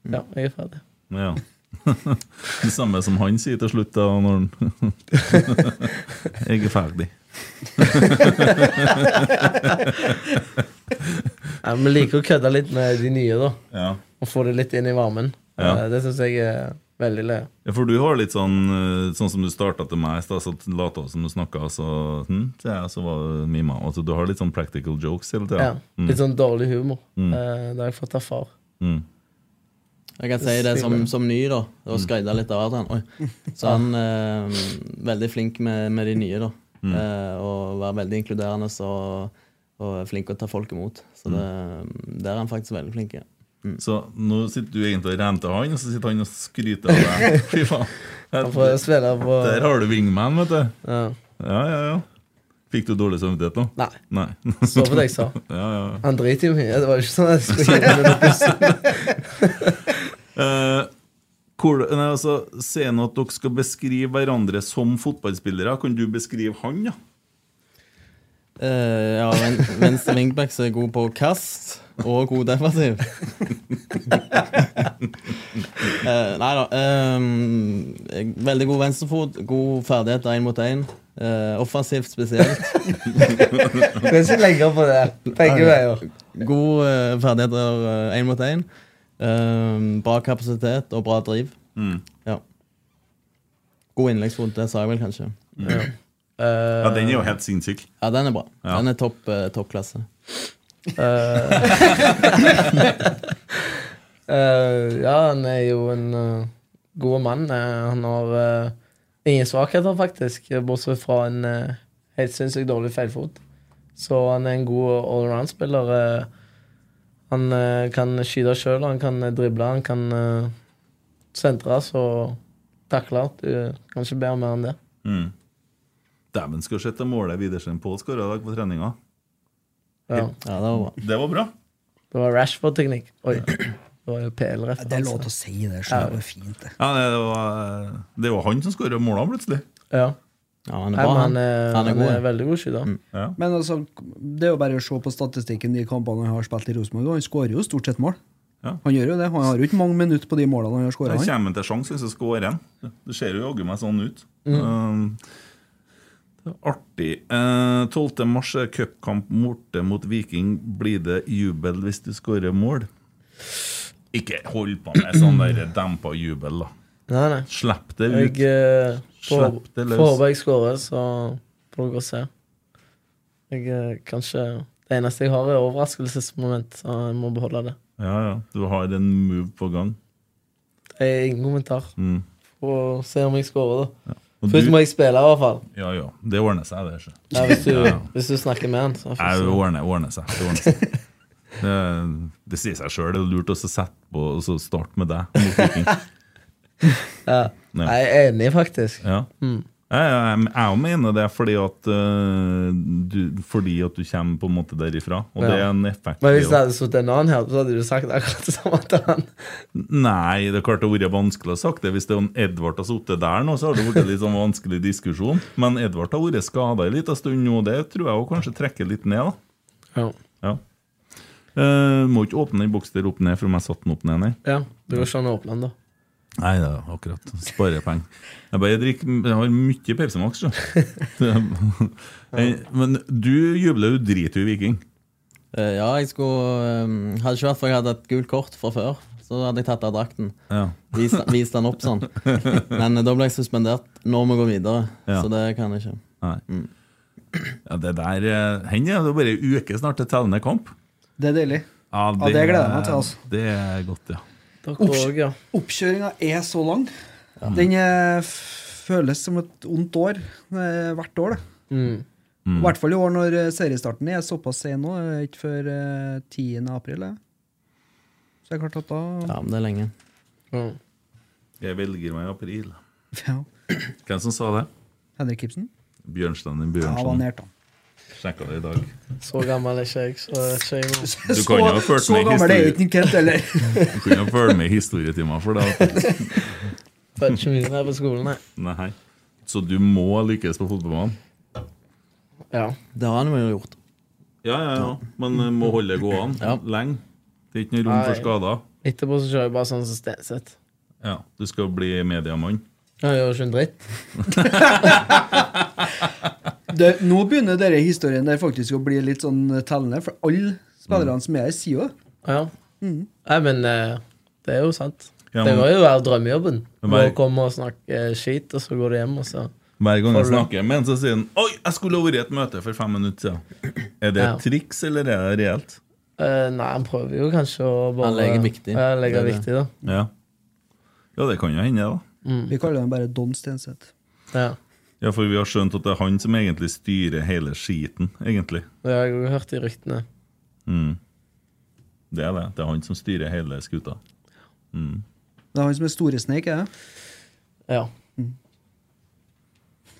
Mm. Ja, jeg er ferdig. Ja. <laughs> Det samme som han sier til slutt, da, når han Jeg er ferdig. Ja, Vi liker å kødde litt med de nye, da. Ja. Og få det litt inn i varmen. Ja. Eh, Det syns jeg er veldig løye. Ja, For du har litt sånn eh, Sånn som du starta til meg i stad, så lata du som du snakka, så hm, så, ja, så var det mima. Altså, du har litt sånn practical jokes hele Ja. tida. Mm. Litt sånn dårlig humor. Mm. Eh, Det har jeg fått av far. Mm. Jeg kan si det som, som ny, da. Og Mm. skryte litt av Adrian. Oi. Så han er veldig flink med, med de nye, da. Mm. Eh, og være veldig inkluderende og, og er flink å ta folk imot. Så det, der er han faktisk veldig flink. Ja. Så nå sitter du egentlig og renter han, og så sitter han og skryter av <laughs> deg. Fy faen. Han får spille på Der har du wingman, vet du. Ja, ja, ja. Fikk du dårlig samvittighet nå? Nei. Nei. <laughs> Så på det jeg sa. Ja, ja, ja. Han driter jo mye. Det var jo ikke sånn at jeg skulle gjøre det. Eh, hvor, nei, altså, Se nå at dere skal beskrive hverandre som fotballspillere. Kan du beskrive han, da? Eh, ja, ven, venstre wingback som er god på kast og god <laughs> defensiv. uh, nei da. ehm, jeg- veldig god venstrefot, god ferdighet én mot én. eh, offensivt spesielt. Du er ikke lenger på det. Begge veier. God eh, ferdigheter én mot én. Ehm, bra kapasitet og bra driv. Mm. Ja. God innleggsfot, det sa jeg vel kanskje. Ja. Ja, den er jo helt sinnssyk. Ja, den er bra. Ja. Den er topp, eh, toppklasse. <laughs> Eh, ja, han er jo en eh, god mann. Eh, han har eh, ingen svakheter, faktisk, eh, bortsett fra en eh, helt sinnssykt dårlig feilfot. Så han er en god allround-spiller. eh. han eh, kan skyte sjøl, han kan eh, drible, han kan eh, sentre, så takle. Du kan ikke be om mer enn det. Mm. Dæven, skal sette målet Widersen Pål skåra i dag på treninga. Ja. det var bra. Det var bra. Det var Rashford-teknikk. Oi. Det var jo PL-referanse. Det er lov til å si det. Ja. skjønner du, Det er fint, det. Ja, det, var, det var han som skåra måla, plutselig. Ja. han er bra, han. Han er god, han. veldig god skytter. Ja. Men altså, det er jo bare å se på statistikken de kampene han har spilt i Rosenborg. og Han skårer jo stort sett mål. Ja. Han gjør jo det. Han har jo ikke mange minutter på de målene han har Der skåra. kommer han til sjanse hvis jeg skårer en. Det ser jo jaggu meg sånn ut. Mm. Um, det er artig. Eh, 12. mars er cupkamp borte mot Viking. Blir det jubel hvis du skårer mål? Ikke hold på med sånn der dempa jubel, da. Nei, nei. Slipp det ut. Jeg uh, får, Slipp det løs. får håpe jeg skårer, så får dere se. Jeg eh, kanskje Det eneste jeg har, er overraskelsesmoment, så jeg må beholde det. Ja, ja. Du har en move på gang. Det er ingen kommentar. Mm. Få se om jeg skårer, da. Og Først du- må jeg spille, i hvert fall. Ja ja, det ordner seg, det. ikke? Ja, hvis, du, Ja, ja. hvis du snakker med han. Så får Nei, vi det se. ordner, ordner seg. Det, ordner seg. det, det sier seg sjøl. Det er lurt å så sette på og så starte med deg. mot <laughs> Viking. ja. Nei. Jeg er enig, faktisk. Ja. Mm. Jeg, jeg, jeg mener det fordi at, eh, du, fordi at du kommer på en måte derifra. Og det er en effekt. Men det hvis også. det hadde sittet en annen her, så hadde du sagt akkurat det samme til han. Nei, det er klart det hadde vært vanskelig å sagt det. Hvis det er en Edvard har sittet der nå, så har det vært en litt sånn vanskelig diskusjon. Men Edvard har vært skada en liten stund nå, og det tror jeg også kanskje trekker litt ned. da. Ja. Ja. Eh, må ikke åpne den boksen der opp ned, for om jeg satte den opp ned, nei. Ja, Det går ikke an å åpne den, da. Nei, det er akkurat. Spare penger. Jeg bare drikker, jeg har mye Pepsi Max. så. <laughs> Eh, Men du jubler jo drit i Viking. Eh, Ja, jeg skulle eh, Hadde ikke vært for jeg hadde et gult kort fra før, så hadde jeg tatt av drakten. Ja. Vist, vist den opp sånn. Men eh, da ble jeg suspendert. Nå må vi gå videre, Ja. så det kan jeg ikke. Nei. Ja, det der eh, hen er det bare en uke snart til tellende kamp. Det er deilig. Ja, Ja, det gleder jeg meg til, altså. Det er godt, ja. Oppkjøringa er så lang. Den eh, f- føles som et ondt år eh, hvert år, det. Mm. I hvert fall i år når eh, seriestarten er såpass sen nå. Det er Ikke før eh, 10. april. det. Så det er klart at da Ja, men det er lenge. Jeg velger meg i april. Ja. Hvem som sa det? Henrik Ibsen. Bjørnstein din Ja, han var Bjørnstein. nært, da. Sjekka det i dag. Så gammel er ikke jeg. Så er ikke jeg nå. <laughs> Du kan jo ha fulgt så med i gammel er historie- ikke Kent, eller? <laughs> Du kunne ha fulgt med i historietimer for det. Følger ikke mye med på skolen, nei. Nei. Så du må lykkes på fotballbanen? Ja. Det har han jo gjort. Ja, ja, ja. Men eh, må holde det gående lenge. Det er ikke noe rom Nei. for skader. Etterpå så kjører jeg bare sånn som Stenseth. Ja, Du skal bli mediemann. Jeg gjør ikke en dritt. Det, nå begynner denne historien der faktisk å bli litt sånn tellende, for alle Mm. spillerne som er her, sier jo det. Ja. Nei, men eh, det er jo sant. Ja, det men- må jo være drømmejobben. Å Men bare- komme og snakke eh, skit, og så går du hjem, og så Hver gang jeg Får du- snakker med en, så sier han Oi, jeg skulle ha vært i et møte for fem minutter siden. Er det Ja. et triks, eller er det reelt? Eh, Nei, han prøver jo kanskje å bare Han legger viktig. Ja, han legger Det er det. viktig, da. Ja. ja, det kan jo hende, da. Vi kaller den bare Don Stenseth. Ja. Ja, for vi har skjønt at det er han som egentlig styrer hele skiten, egentlig. Det har jeg jo hørt i ryktene. Mm. Det er det. Det er han som styrer hele skuta. <laughs> Mm. Det er han som er Storesneik, er det? Ja.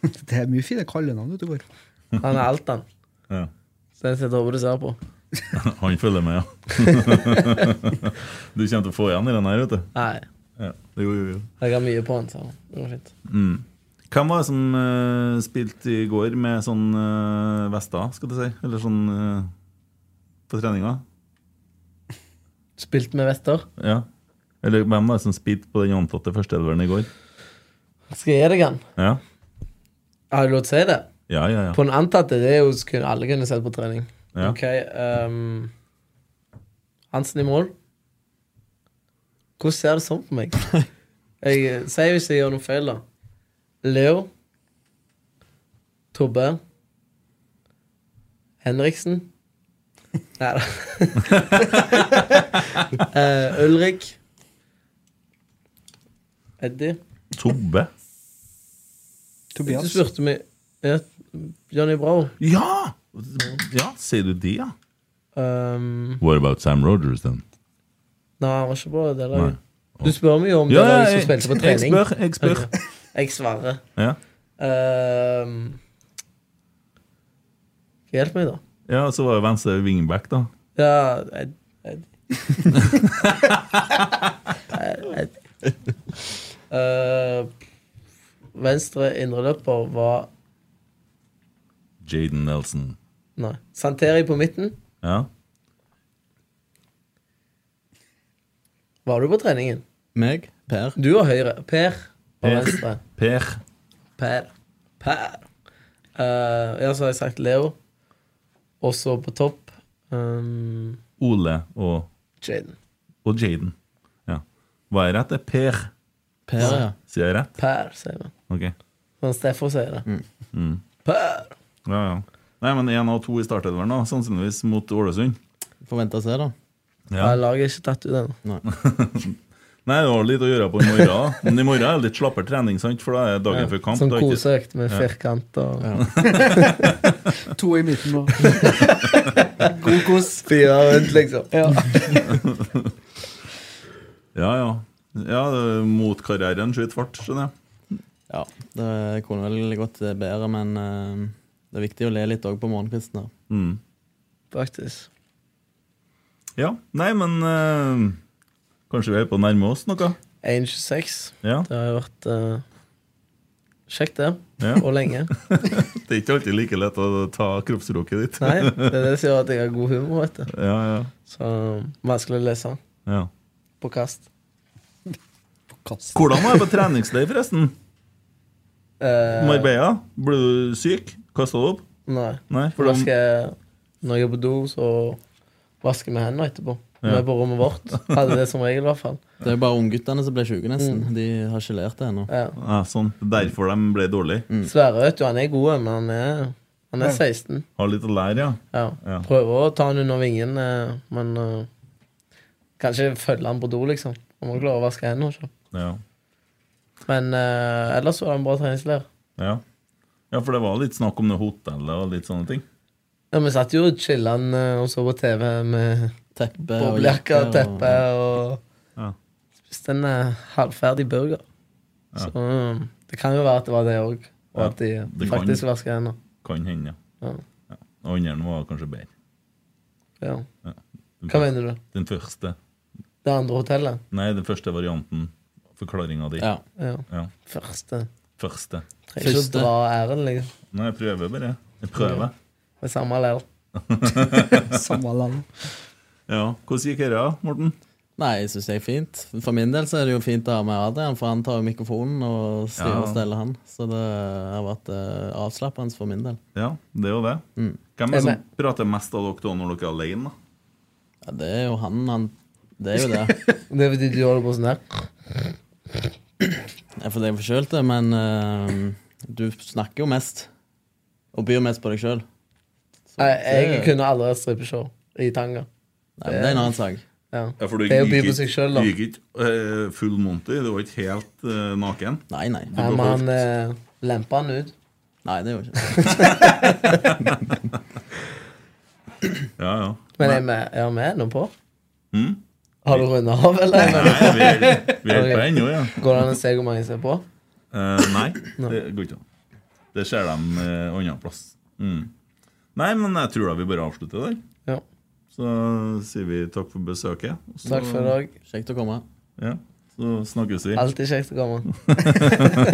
Det er mye fine kallenavn ute og går. Han er alt, han. Ja. Stenseth håper du ser på. Han følger med, ja. <laughs> du kommer til å få igjen i den her, vet du. Nei, Ja. Jo, jo, jo. jeg har mye på han, så det går fint. Mm. Hvem var det som eh, spilte i går med sånn uh, vester, skal du si? Eller sånn eh, på treninga? Spilt med vester. Ja. Eller hvem var det som spilte på den antatte førsteelveren i går? Skal jeg gi deg han? Ja, Har du lov til å si det? ja, ja. ja. På en antatte, det er jo skulle alle kunne sett på trening. Ja. Ok, ehm, Hansen i mål. Hvordan ser det sånn på meg? Jeg eh, sier jo ikke jeg gjør noe feil, da. Leo. Tobbe. Henriksen. Nei da. Eh, Ulrik. Eddie. Tobbe. Du Tobias. spurte meg ja, Johnny Bravo. Ja! Ja, Sier du det, ja? Um, What about Sam Rogers, then? Nei, han var ikke på det Nei. laget. Du spør meg jo om Ja, det laget ja, som spilte på jeg- trening. jeg spør, jeg spør. <laughs> Ok. Jeg svarer. Ja. Ehm, hjelp meg, da. Ja, og så var det venstre wingback, da. Ja Ed- Ed- <laughs> Ed- Eh, Venstre indreløper var Jaden Nelson. Nei. Santeri på midten. Ja. Var du på treningen? Meg, Per. Du var høyre. Per var Per. venstre. Per. Per. Per. Eh, ja, så har jeg sagt Leo. Og så på topp um, Ole og, Jaden. og Jaden. Ja. Var jeg rett? Det er Per. Per, ja. Sier jeg rett? Per, sier man. Ok. Sånn Steffo sier det. Mm. Per. Ja, ja. Nei, men én av to i startelveren, da, sannsynligvis mot Ålesund. Får vente og se, da. Ja. Nei, Laget er ikke tatt ut ennå. Nei, det var litt å gjøre på i morgen. <laughs> da. Men i morgen er det litt slappere trening, sant? for da er det dagen før kamp. Sånn da er ikke- koseøkt med firkant og <laughs> To i midten og Kokos. Fire rundt, liksom. Ja. Ja, ja. Ja, det er mot karrieren skyter fart, skjønner jeg. Ja, Det kunne vel gått eh, bedre, men eh, det er viktig å le litt òg på morgenkvisten. da. Mm. Faktisk. Ja. Nei, men eh, kanskje vi er på å nærme oss noe? 1,26. Ja. Det har jo vært eh, kjekt, det. ja. Og lenge. Det Det er ikke alltid like lett å ta kroppsspråket ditt. Nei, det er det som gjør at jeg har god humor. vet du Ja, ja. Så vanskelig å lese Ja. på kast. Hvordan var det på treningsleir, forresten? Eh, Marbella? Ble du syk? Kasta du opp? Nei. Nei, for for da de- skal jeg, når jeg er på do, så vasker vi hendene etterpå. Ja. Vi er på rommet vårt. Hadde det som regel, i hvert fall. Mm. Det er jo bare ungguttene som ble sjuke, nesten. De har ikke lært det ennå. Mm. Ja. Ja, sånn. Derfor de ble dårlige. Sverre, vet du, han er god, men han er, han er Ja. 16. Har litt å lære, ja. Ja. Prøver å ta han under vingen, eh, men eh, kanskje følge han på do, liksom. Han må klare å vaske hendene. Ikke? ja. Men eh, ellers var det en bra treningsleir. Ja. ja, for det var litt snakk om det hotellet og litt sånne ting. Ja, vi satt jo og chillan eh, og så på TV med teppe og boblejakker jakke og og- teppe og, Ja. spiste en eh, halvferdig burger. Ja. Så eh, det kan jo være at det var det òg, og Ja, at de eh, det kan- faktisk vasker hendene. Kan hende, ja. Ja. ja. Og andre var kanskje bedre. Ja. Ja. Hva Den første- mener du? Den første. Det andre hotellet? Nei, den første varianten. Forklaringa di. Ja. Ja. Første. Første. Trenger ikke å dra æren, liksom. Nei, jeg prøver bare. Jeg prøver. Det er samme leir. samme land. Ja. Hvordan gikk dette, Morten? Nei, jeg syns det er fint. For min del så er det jo fint å ha med Adrian, for han tar jo mikrofonen og styrer Ja. og steller, han. Så det har vært eh, avslappende for min del. Ja, det er jo det. Mm. Hvem er det som prater mest av dere da når dere er alene? da? Ja, det er jo han, han Det er jo det. <laughs> det er fordi du holder på sånn her. Jeg for deg forkjølte, men eh, du snakker jo mest. Og byr mest på deg sjøl. Jeg, jeg kunne aldri hatt strippeshow i tanga. Nei, men det er en annen sak. Ja. Ja, for du det er å by gikk på ikke- seg sjøl, da. Du gikk ikke eh, full monty. Du var ikke helt eh, naken. Nei, nei. Du Ja, men beholdt- han eh, lempa han ut. Nei, det gjorde ikke Ja, ja. Men er vi, er vi ennå på? Mm. Har du runda av, eller? <laughs> Nei, vi er- vi er på <laughs> Ok. ennå, ja. Går det an å se hvor mange som er på? Eh, nei, det går ikke an. Det ser de eh, annen plass. Mm. Nei, men jeg tror da vi bare avslutter der. Ja. Så sier vi takk for besøket. og så- Takk for i dag. Kjekt å komme. Ja, så snakkes vi. Alltid kjekt å komme.